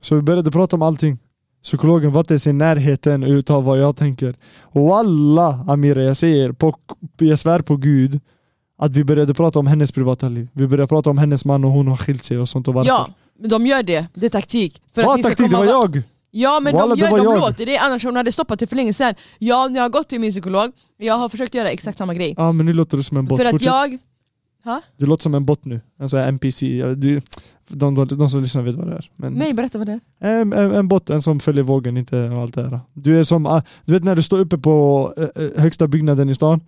Speaker 3: Så vi började prata om allting. Psykologen var inte ens i närheten utav vad jag tänker. Och alla Amira, jag säger, på, jag svär på gud att vi började prata om hennes privata liv. Vi började prata om hennes man och hon har skilt sig och sånt och varför.
Speaker 2: Ja, men de gör det. Det är taktik. För
Speaker 3: Vad
Speaker 2: ni ska
Speaker 3: taktik, det
Speaker 2: komma
Speaker 3: var
Speaker 2: va-
Speaker 3: jag!
Speaker 2: Ja men
Speaker 3: Walla,
Speaker 2: de,
Speaker 3: det
Speaker 2: gör,
Speaker 3: var
Speaker 2: de
Speaker 3: jag.
Speaker 2: låter det, annars hon hade stoppat det för länge sedan. Ja, jag har gått till min psykolog, jag har försökt göra exakt samma grej.
Speaker 3: Ja men nu låter du som en bot.
Speaker 2: för att
Speaker 3: Fortsätt.
Speaker 2: jag...
Speaker 3: Du låter som en bot nu. Alltså, En sån här NPC. Ja, Du, de, de, de som lyssnar vet vad det är. Men...
Speaker 2: Nej berätta vad det är.
Speaker 3: En, en, en botten som följer vågen, inte allt det här. Du är som, ah, du vet när du står uppe på eh, eh, högsta byggnaden i stan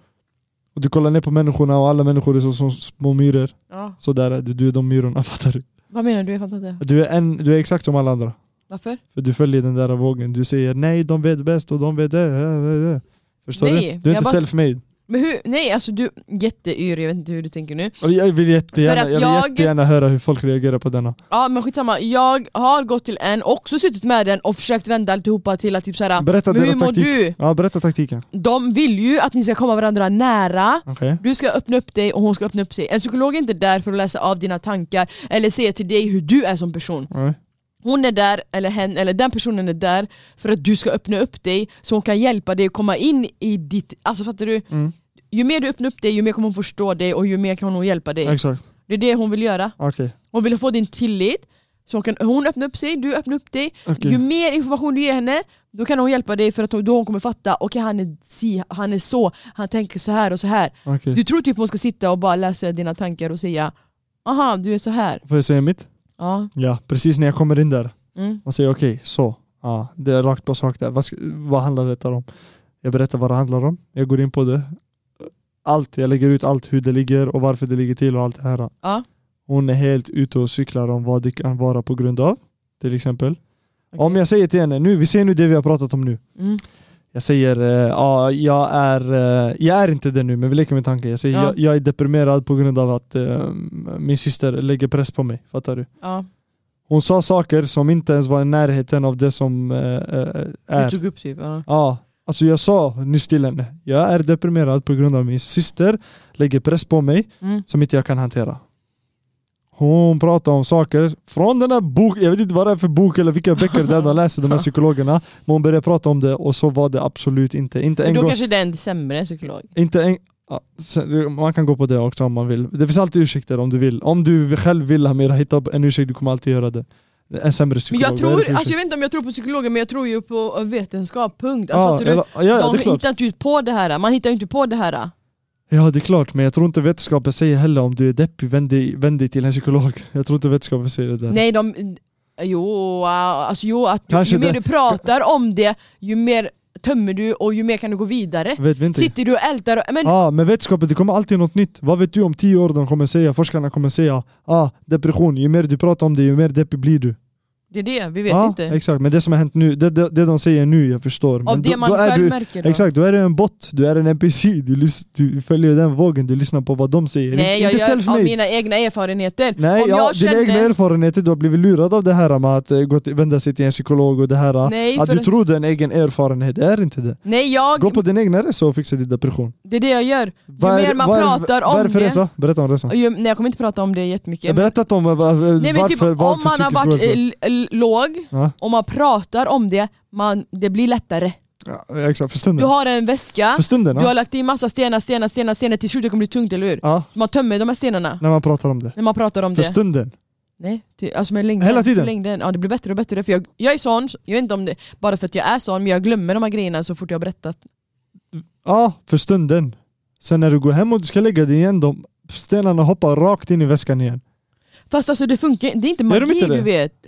Speaker 3: och du kollar ner på människorna och alla människor är så, som små myror.
Speaker 2: Ja.
Speaker 3: Sådär är du, du är de myrorna, fattar du?
Speaker 2: Vad menar du? Jag fattar inte.
Speaker 3: Du är, en, du är exakt som alla andra.
Speaker 2: Varför?
Speaker 3: För du följer den där vågen. Du säger nej, de vet bäst och de vet det. eh, eh, eh." Förstår
Speaker 2: Nej,
Speaker 3: du? Du är
Speaker 2: jag
Speaker 3: inte
Speaker 2: bara-
Speaker 3: self-made.
Speaker 2: Men hur, nej alltså du, jätteyr, jag vet inte hur du tänker nu.
Speaker 3: Och Jag vill, jättegärna,
Speaker 2: För
Speaker 3: jag
Speaker 2: att
Speaker 3: vill
Speaker 2: jag-
Speaker 3: jättegärna höra hur folk reagerar på denna.
Speaker 2: Ja men skitsamma, jag har gått till en, också suttit med den och försökt vända alltihopa till att typ såhär,
Speaker 3: Berätta
Speaker 2: men hur
Speaker 3: deras
Speaker 2: mår
Speaker 3: taktik.
Speaker 2: du?
Speaker 3: Ja, berätta taktiken.
Speaker 2: De vill ju att ni ska komma varandra nära
Speaker 3: Okej.
Speaker 2: du ska öppna upp dig och hon ska öppna upp sig. En psykolog är inte där för att läsa av dina tankar eller se till dig hur du är som person.
Speaker 3: Ja.
Speaker 2: Hon är där, eller hen, eller den personen är där för att du ska öppna upp dig så hon kan hjälpa dig att komma in i ditt... Alltså fattar du?
Speaker 3: Mm.
Speaker 2: Ju mer du öppnar upp dig, ju mer kommer hon förstå dig och ju mer kan hon hjälpa dig.
Speaker 3: Exakt.
Speaker 2: Det är det hon vill göra.
Speaker 3: Okej.
Speaker 2: Hon vill få din tillit, så hon, kan, hon öppnar upp sig, du öppnar upp dig.
Speaker 3: Okej.
Speaker 2: Ju mer information du ger henne, då kan hon hjälpa dig för att hon- då hon kommer fatta, okej han, är si, han är så, han tänker så här och så här.
Speaker 3: Okej.
Speaker 2: Du tror typ hon ska sitta och bara läsa dina tankar och säga Aha, du är så här.
Speaker 3: Får jag säga mitt?
Speaker 2: Ja.
Speaker 3: Ja, precis när jag kommer in där.
Speaker 2: Mm.
Speaker 3: Man säger okej, så. Ja, det är rakt på sak där. Vad, ska- vad handlar detta om? Jag berättar vad det handlar om. Jag går in på det. Allt, jag lägger ut allt hur det ligger och varför det ligger till och allt det här.
Speaker 2: Ja.
Speaker 3: Hon är helt ute och cyklar om vad det kan vara på grund av. Till exempel.
Speaker 2: Okej.
Speaker 3: Om jag säger till henne, nu, vi ser nu det vi har pratat om nu.
Speaker 2: Mm.
Speaker 3: Jag säger, eh, ja, jag är, eh, jag är inte det nu men vi leker med tanken. Jag säger,
Speaker 2: Ja.
Speaker 3: jag, jag är deprimerad på grund av att eh, min syster lägger press på mig. Fattar du?
Speaker 2: ja.
Speaker 3: Hon sa saker som inte ens var i närheten av det som eh, eh,
Speaker 2: Du
Speaker 3: är.
Speaker 2: tog upp typ. Ja.
Speaker 3: Ja, alltså jag sa nyss till henne, jag är deprimerad på grund av min syster lägger press på mig
Speaker 2: Mm.
Speaker 3: som inte jag kan hantera. Hon pratar om saker från den här boken, jag vet inte vad det är för bok eller vilka böcker det är de läser, de här psykologerna. Men hon började prata om det och så var det absolut inte. Inte
Speaker 2: Men
Speaker 3: en
Speaker 2: då
Speaker 3: gång.
Speaker 2: kanske det är en sämre psykolog.
Speaker 3: Inte en, ja, sen- man kan gå på det också om man vill. Det finns alltid ursäkter om du vill. Om du själv vill Hamira, hitta upp en ursäkt, du kommer alltid göra det. En sämre
Speaker 2: Men
Speaker 3: psykolog.
Speaker 2: jag
Speaker 3: vad är det
Speaker 2: tror,
Speaker 3: för
Speaker 2: alltså
Speaker 3: ursäkt?
Speaker 2: jag vet inte om jag tror på psykologer men jag tror ju på vetenskap, punkt.
Speaker 3: Ja,
Speaker 2: Alltså,
Speaker 3: eller-
Speaker 2: ja,
Speaker 3: ja, ja,
Speaker 2: de
Speaker 3: det är klart.
Speaker 2: hittar inte ut på det här, man hittar ju inte på det här.
Speaker 3: Ja, det är klart. Men jag tror inte vetenskapen säger heller om du är deppig, vänd dig, vänd dig till en psykolog. Jag tror inte vetenskapen säger det där.
Speaker 2: Nej de... Jo, alltså jo, att
Speaker 3: Kanske
Speaker 2: ju mer
Speaker 3: det-
Speaker 2: du pratar om det, ju mer tömmer du och ju mer kan du gå vidare.
Speaker 3: Vet vi inte.
Speaker 2: Sitter du och ältar och, men
Speaker 3: Ja, ah, men vetskapet, det kommer alltid något nytt. Vad vet du om tio år? De kommer säga, forskarna kommer säga, ah, depression, ju mer du pratar om det, ju mer deppig blir du.
Speaker 2: det är det, vi vet
Speaker 3: ah,
Speaker 2: inte.
Speaker 3: Exakt, men det som har hänt nu, det, det, det de säger nu, jag förstår.
Speaker 2: Av
Speaker 3: men
Speaker 2: det
Speaker 3: då,
Speaker 2: man
Speaker 3: då är
Speaker 2: själv
Speaker 3: du,
Speaker 2: märker. då.
Speaker 3: Exakt, då är du en bot, du är en NPC, du, lys- du följer den vågen, du lyssnar på vad de säger.
Speaker 2: Nej, jag
Speaker 3: inte
Speaker 2: gör av
Speaker 3: self-made.
Speaker 2: mina egna erfarenheter.
Speaker 3: Nej,
Speaker 2: Om
Speaker 3: ja,
Speaker 2: jag
Speaker 3: dina
Speaker 2: känner-
Speaker 3: egna erfarenheter, du har blivit lurad av det här med att eh, gå till, vända sig till en psykolog och det här.
Speaker 2: Nej,
Speaker 3: att
Speaker 2: för-
Speaker 3: du tror det är en egen erfarenhet, det är inte det.
Speaker 2: Nej, jag,
Speaker 3: Gå på din egna resa och fixa din depression.
Speaker 2: det är det jag gör. Ju
Speaker 3: Vad är-
Speaker 2: mer man
Speaker 3: vad är-
Speaker 2: pratar om
Speaker 3: Vad är det för
Speaker 2: det-
Speaker 3: resa? Berätta om resan.
Speaker 2: Och ju, nej, jag kommer inte prata om det jättemycket.
Speaker 3: Jag berättat om eh, va- eh,
Speaker 2: Nej, men
Speaker 3: varför,
Speaker 2: typ,
Speaker 3: varför
Speaker 2: om man har varit
Speaker 3: psykisk ohälsa.
Speaker 2: l- l- låg
Speaker 3: Ja.
Speaker 2: och man pratar om det, man, det blir lättare.
Speaker 3: Ja, exakt, för
Speaker 2: Du
Speaker 3: stunden.
Speaker 2: har en väska,
Speaker 3: För stunden,
Speaker 2: du har
Speaker 3: ja.
Speaker 2: lagt i massa stenar, stenar, stenar, stenar, till slut det kommer bli tungt, eller hur?
Speaker 3: ja.
Speaker 2: Man tömmer de här stenarna
Speaker 3: När man pratar om det.
Speaker 2: när man pratar om
Speaker 3: För
Speaker 2: det.
Speaker 3: stunden.
Speaker 2: Nej, ty- alltså med längden.
Speaker 3: Hela tiden?
Speaker 2: Längden, ja, det blir bättre och bättre. För jag, jag är sån, jag vet inte om det bara för att jag är sån, men jag glömmer de här grejerna så fort jag har berättat.
Speaker 3: Ja, för stunden. Sen när du går hem och du ska lägga dig igen, de stenarna hoppar rakt in i väskan igen.
Speaker 2: Fast alltså det funkar det är inte
Speaker 3: Gör de
Speaker 2: magi
Speaker 3: inte det?
Speaker 2: du vet.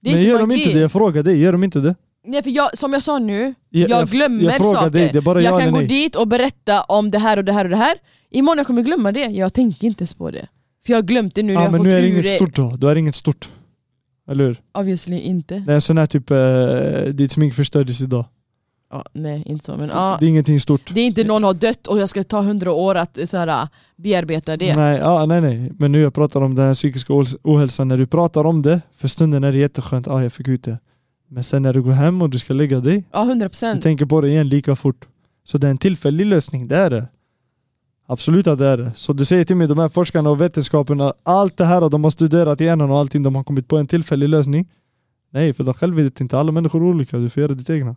Speaker 2: Det är
Speaker 3: Men
Speaker 2: inte
Speaker 3: gör de
Speaker 2: magi.
Speaker 3: inte det? Jag frågar dig, gör de inte det?
Speaker 2: Nej för jag, som jag sa nu,
Speaker 3: Jag-
Speaker 2: jag,
Speaker 3: jag-
Speaker 2: glömmer
Speaker 3: jag frågar
Speaker 2: Mm, saker.
Speaker 3: dig, det är bara ja
Speaker 2: jag
Speaker 3: eller
Speaker 2: kan gå
Speaker 3: nej.
Speaker 2: dit och berätta om det här och det här och det här. Imorgon jag kommer jag glömma det, jag tänker inte ens på det. För jag har glömt det nu, jag
Speaker 3: Ja,
Speaker 2: har
Speaker 3: men
Speaker 2: fått
Speaker 3: nu är det
Speaker 2: ur
Speaker 3: inget stort då. Då är det inget stort. Eller hur?
Speaker 2: Obviously inte.
Speaker 3: Det är en sån här typ, eh, ditt smink förstördes idag.
Speaker 2: Ja, nej, inte så men ja.
Speaker 3: Det är ingenting stort.
Speaker 2: Det är inte någon har dött och jag ska ta hundra år att eh, så här, bearbeta det.
Speaker 3: Nej, ja, nej, nej. Men nu jag pratar om den här psykiska ohäls- ohälsan, när du pratar om det, för stunden är det jätteskönt, ah, jag fick ut det. Men sen när du går hem och du ska lägga dig,
Speaker 2: Ja, hundra
Speaker 3: du
Speaker 2: procent.
Speaker 3: tänker på det igen lika fort. Så det är en tillfällig lösning, det är det. Absolut att det är det. Så du säger till mig, de här forskarna och vetenskaperna, allt det här och de har studerat hjärnan och allting, de har kommit på en tillfällig lösning. Nej, för de själva vet inte, alla människor är olika, du får göra ditt egna.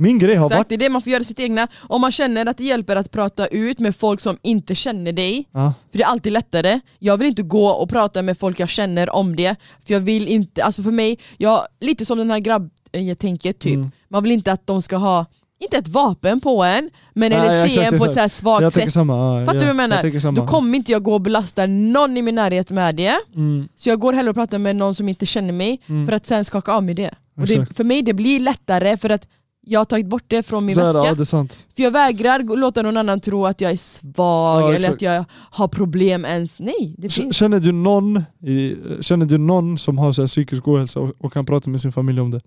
Speaker 3: Min grej har
Speaker 2: Exakt,
Speaker 3: varit...
Speaker 2: det är det man får göra sitt egna. Om man känner att det hjälper att prata ut med folk som inte känner dig,
Speaker 3: Ja.
Speaker 2: För det är alltid lättare, jag vill inte gå och prata med folk jag känner om det För jag vill inte, alltså för mig, jag, lite som den här grabbtänket typ
Speaker 3: Mm.
Speaker 2: Man vill inte att de ska ha, inte ett vapen på en, men
Speaker 3: Nej,
Speaker 2: eller se
Speaker 3: exakt,
Speaker 2: en på
Speaker 3: exakt.
Speaker 2: ett så här svagt
Speaker 3: Jag tänker
Speaker 2: sätt
Speaker 3: samma. Ja,
Speaker 2: Fattar du
Speaker 3: ja,
Speaker 2: vad jag menar?
Speaker 3: tänker samma.
Speaker 2: Då kommer inte jag gå och belasta någon i min närhet med det
Speaker 3: Mm,
Speaker 2: Så jag går hellre och pratar med någon som inte känner mig
Speaker 3: mm.
Speaker 2: för att sen skaka av mig det och det,
Speaker 3: Exakt.
Speaker 2: För mig det blir lättare för att jag har tagit bort det från min
Speaker 3: Så är det,
Speaker 2: väska
Speaker 3: ja, det är sant.
Speaker 2: för jag vägrar gå- låta någon annan tro att jag är svag
Speaker 3: Ja,
Speaker 2: eller
Speaker 3: exakt.
Speaker 2: att jag har problem ens. Nej, det
Speaker 3: K-
Speaker 2: finns.
Speaker 3: Känner du någon, i, känner du någon som har så här psykisk ohälsa och, och kan prata med sin familj om det?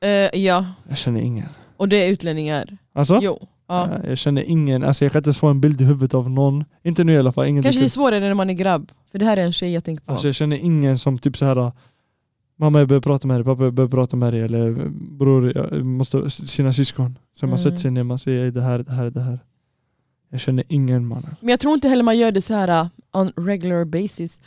Speaker 2: Eh, ja,
Speaker 3: Jag känner ingen.
Speaker 2: och det är utlänningar.
Speaker 3: Alltså?
Speaker 2: Jo. Ja.
Speaker 3: Ja, Jag känner ingen, alltså jag kan inte ens få en bild i huvudet av någon. Inte nu i alla fall. Ingen
Speaker 2: Kanske det är
Speaker 3: typ.
Speaker 2: svårare när man är grabb, för det här är en tjej jag tänker på.
Speaker 3: alltså jag känner ingen som typ så här Mamma jag behöver prata med dig, pappa jag behöver prata med dig eller eh, bror, jag måste, sina syskon. Sen man
Speaker 2: Mm.
Speaker 3: sätter sig ner, man säger det här, det här, det här. Jag känner ingen mannen.
Speaker 2: Men jag tror inte heller man gör det så här uh, on regular basis.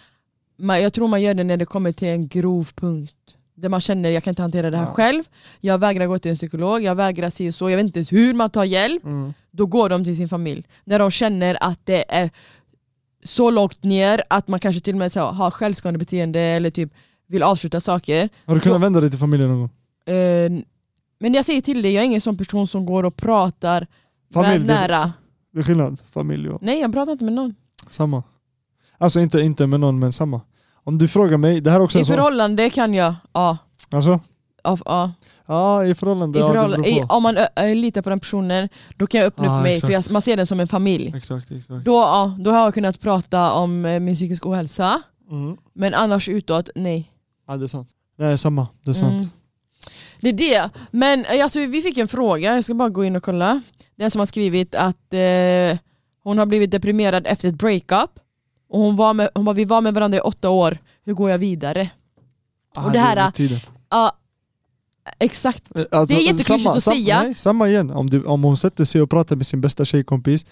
Speaker 2: Man, jag tror man gör det när det kommer till en grov punkt. Där man känner jag kan inte hantera det här
Speaker 3: Ja.
Speaker 2: själv, jag vägrar gå till en psykolog, jag vägrar se och så, jag vet inte ens hur man tar hjälp. då går de till sin familj. När de känner att det är så långt ner att man kanske till och med så, här, har självskadebeteende eller typ vill avsluta saker.
Speaker 3: Har du
Speaker 2: Jo.
Speaker 3: kunnat vända dig till familjen någon gång?
Speaker 2: Eh, Men jag säger till dig, jag är ingen sån person som går och pratar
Speaker 3: Familj,
Speaker 2: med
Speaker 3: det-
Speaker 2: nära.
Speaker 3: Det är skillnad, familj och...
Speaker 2: Nej jag pratar inte med någon.
Speaker 3: Samma. Alltså inte, inte med någon, men samma. Om du frågar mig, det här är också
Speaker 2: I
Speaker 3: en sån...
Speaker 2: förhållande kan jag, ja.
Speaker 3: Alltså?
Speaker 2: ja, ja.
Speaker 3: Ja, i förhållande.
Speaker 2: I
Speaker 3: ja, det
Speaker 2: förhållande,
Speaker 3: beror
Speaker 2: i,
Speaker 3: på.
Speaker 2: om man ö, ö, litar på den personen, då kan jag öppna
Speaker 3: Ah,
Speaker 2: upp mig
Speaker 3: exakt.
Speaker 2: för jag, man ser den som en familj.
Speaker 3: Exakt, exakt.
Speaker 2: Då, ja, då har jag kunnat prata om eh, min psykisk ohälsa,
Speaker 3: Mm.
Speaker 2: men annars utåt, nej.
Speaker 3: Ja, det är sant. Nej, samma. Det är sant.
Speaker 2: Mm. Det är det. Men eh, alltså, vi fick en fråga, jag ska bara gå in och kolla. Den som har skrivit att eh, hon har blivit deprimerad efter ett breakup. Och hon, var med, hon bara, vi var med varandra i åtta år, hur går jag vidare?
Speaker 3: Ah,
Speaker 2: Och det här-
Speaker 3: är med tiden.
Speaker 2: Ja, exakt.
Speaker 3: Eh, alltså,
Speaker 2: det är jätteklyschigt
Speaker 3: samma-
Speaker 2: att
Speaker 3: sam-
Speaker 2: säga.
Speaker 3: Nej, samma igen. Om, du, om hon sätter sig och pratar med sin bästa tjejkompis,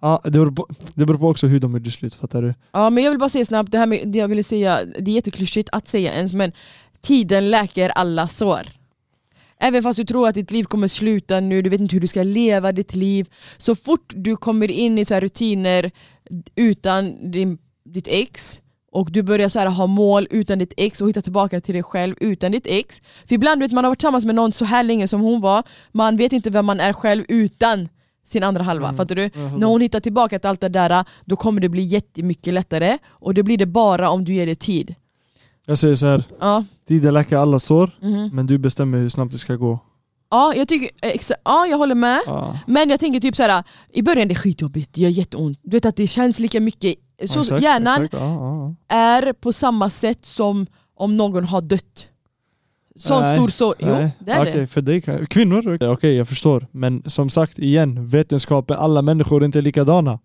Speaker 3: ah, det, beror på, det beror på också hur de gjorde slut, fattar du?
Speaker 2: Ja, men jag vill bara säga snabbt, det här med, det jag ville säga, det är jätteklyschigt att säga ens, men tiden läker alla sår. Även fast du tror att ditt liv kommer sluta nu, du vet inte hur du ska leva ditt liv. Så fort du kommer in i så här rutiner utan din, ditt ex och du börjar så här ha mål utan ditt ex och hitta tillbaka till dig själv utan ditt ex. För ibland vet man har varit tillsammans med någon så här länge som hon var, man vet inte vem man är själv utan sin andra halva.
Speaker 3: Mm.
Speaker 2: Fattar du? När hon hittar tillbaka till allt det där, då kommer det bli jättemycket lättare. Och det blir det bara om du ger det tid.
Speaker 3: Jag säger så här,
Speaker 2: Ja,
Speaker 3: tiden läker alla sår,
Speaker 2: mhm.
Speaker 3: men du bestämmer hur snabbt det ska gå.
Speaker 2: Ja, jag, tycker, eh, exa, ja, jag håller med.
Speaker 3: Ja.
Speaker 2: Men jag tänker typ såhär, i början det är skitjobbigt, det gör jätteont. Du vet att det känns lika mycket. Så
Speaker 3: Exakt,
Speaker 2: hjärnan
Speaker 3: exakt. Ja, ja,
Speaker 2: är på samma sätt som om någon har dött. Sån
Speaker 3: Nej.
Speaker 2: stor så...
Speaker 3: ja.
Speaker 2: Jo,
Speaker 3: Nej.
Speaker 2: det är
Speaker 3: Okej,
Speaker 2: det.
Speaker 3: för dig kan... Kvinnor? Okej, jag förstår. Men som sagt igen, vetenskapen, alla människor är inte likadana.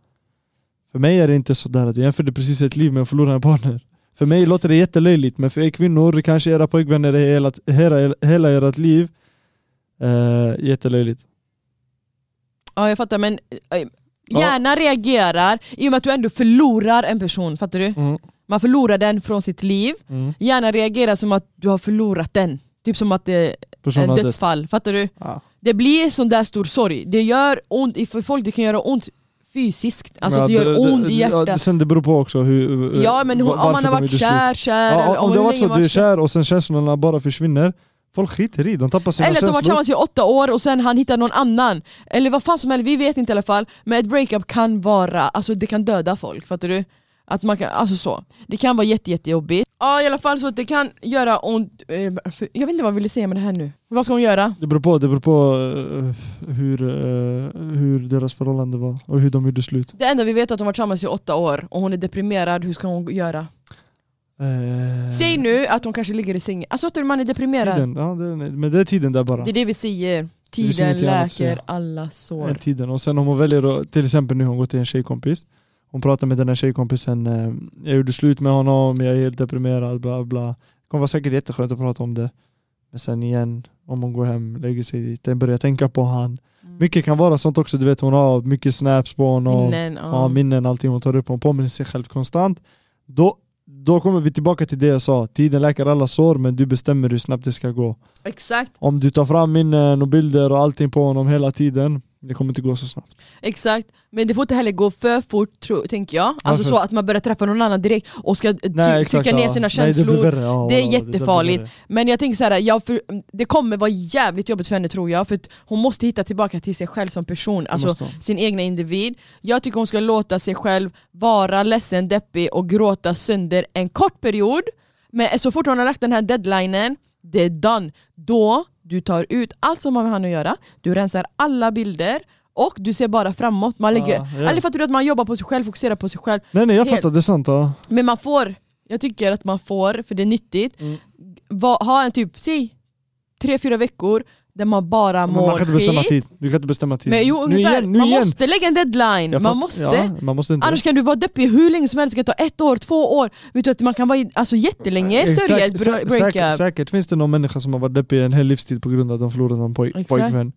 Speaker 3: För mig är det inte sådär att jag jämförde precis ett liv med att förlora en partner. För mig låter det jättelöjligt, men för er kvinnor, kanske era pojkvänner är hela, hela, hela ert liv, eh, jättelöjligt.
Speaker 2: Ja, jag fattar men eh,
Speaker 3: Ja.
Speaker 2: hjärnan reagerar i och med att du ändå förlorar en person, fattar du?
Speaker 3: Mm.
Speaker 2: Man förlorar den från sitt liv,
Speaker 3: Mm.
Speaker 2: hjärnan reagerar som att du har förlorat den. Typ som att det är
Speaker 3: Personen
Speaker 2: en
Speaker 3: har dött.
Speaker 2: dödsfall, fattar du?
Speaker 3: Ja.
Speaker 2: Det blir sån där stor sorg, det gör ont i för folk, det kan göra ont fysiskt, alltså att det gör ont i
Speaker 3: Ja,
Speaker 2: hjärtat.
Speaker 3: sen det beror på också hur...
Speaker 2: Ja men hon, om
Speaker 3: varför
Speaker 2: man
Speaker 3: de
Speaker 2: har
Speaker 3: gjorde
Speaker 2: varit
Speaker 3: slut.
Speaker 2: kär, kär,
Speaker 3: Ja,
Speaker 2: eller
Speaker 3: om det
Speaker 2: hur
Speaker 3: har varit
Speaker 2: länge
Speaker 3: så att
Speaker 2: man
Speaker 3: du är
Speaker 2: varit kär.
Speaker 3: kär och sen känslorna bara försvinner, folk skiter i de tappar sina
Speaker 2: Eller att de har varit
Speaker 3: känslor.
Speaker 2: tillsammans i åtta år och sen han hittar någon annan. Eller vad fan som helst, vi vet inte i alla fall. Men ett breakup kan vara, alltså det kan döda folk, fattar du? Att man kan, alltså så. Det kan vara jätte, jättejobbigt. Ja i alla fall så att det kan göra ont. eh, för- Jag vet inte vad jag ville säga med det här nu. Vad ska hon göra?
Speaker 3: Det beror på, det beror på eh, hur, eh, hur deras förhållande var och hur de gjorde slut.
Speaker 2: Det enda vi vet är att de har varit tillsammans i åtta år och hon är deprimerad, hur ska hon göra?
Speaker 3: Eh,
Speaker 2: Säg nu att hon kanske ligger i sängen. Alltså att man är deprimerad.
Speaker 3: Tiden, ja, det, men det är tiden där bara.
Speaker 2: Det är det vi säger.
Speaker 3: finns
Speaker 2: Tiden
Speaker 3: ingenting annat att säga.
Speaker 2: läker alla
Speaker 3: är
Speaker 2: sår.
Speaker 3: tiden. Och sen om hon väljer att, till exempel nu har hon gått till en tjejkompis. Hon pratar med den här tjejkompisen, eh, jag gjorde slut med honom, jag är helt deprimerad, bla bla. Det kommer vara säkert jätteskönt att prata om det. Men sen igen, om hon går hem, lägger sig dit, börjar tänka på han.
Speaker 2: Mm.
Speaker 3: Mycket kan vara sånt också, du vet hon har mycket snaps på honom.
Speaker 2: Minnen, ja.
Speaker 3: Ja, minnen, allting hon tar upp, hon påminner sig själv konstant. Då, då kommer vi tillbaka till det jag sa, tiden läker alla sår men du bestämmer hur snabbt det ska gå.
Speaker 2: Exakt.
Speaker 3: Om du tar fram minnen och bilder och allting på honom hela tiden, det kommer inte gå så snabbt.
Speaker 2: Exakt, men det får inte heller gå för fort tro, tänker jag. Alltså
Speaker 3: Varför?
Speaker 2: så att man börjar träffa någon annan direkt och ska eh, ty- trycka ner
Speaker 3: ja.
Speaker 2: sina
Speaker 3: Nej, det,
Speaker 2: känslor.
Speaker 3: blir värre. Ja,
Speaker 2: Det är
Speaker 3: ja, där blir
Speaker 2: jättefarligt.
Speaker 3: värre.
Speaker 2: men jag tänker så här, jag för, det kommer vara jävligt jobbigt för henne tror jag, för att hon måste hitta tillbaka till sig själv som person, alltså
Speaker 3: måste hon.
Speaker 2: sin egna individ. Jag tycker hon ska låta sig själv vara ledsen, deppig och gråta sönder en kort period. Men så fort hon har lagt den här deadlinen, det är done. Då du tar ut allt som har med han att göra, du rensar alla bilder och du ser bara framåt. Man lägger,
Speaker 3: Ja, ja.
Speaker 2: Eller fattar du att man jobbar på sig själv, fokuserar på sig själv.
Speaker 3: Nej nej jag
Speaker 2: Helt.
Speaker 3: fattar, det är sant. Ja.
Speaker 2: Men man får, jag tycker att man får, för det är nyttigt,
Speaker 3: Mm.
Speaker 2: va, ha en typ, säg tre, fyra veckor där man bara
Speaker 3: Men
Speaker 2: mår
Speaker 3: man kan inte bestämma
Speaker 2: skit.
Speaker 3: tid. Du kan inte bestämma tid.
Speaker 2: Men jo,
Speaker 3: nu
Speaker 2: ungefär,
Speaker 3: igen, nu
Speaker 2: man
Speaker 3: igen.
Speaker 2: måste lägga en deadline,
Speaker 3: Jag
Speaker 2: man
Speaker 3: fatt-
Speaker 2: måste.
Speaker 3: Ja, man måste inte.
Speaker 2: Annars kan du vara deppig hur länge som helst, det kan ta ett år, två år. Vet du, att man kan vara i, alltså, jättelänge
Speaker 3: Exakt,
Speaker 2: sörja ett
Speaker 3: sä-
Speaker 2: bra-
Speaker 3: Säkert,
Speaker 2: breakup.
Speaker 3: säkert finns det någon människa som har varit deppig en hel livstid på grund av att de förlorade en poj-
Speaker 2: Exakt.
Speaker 3: pojkvän.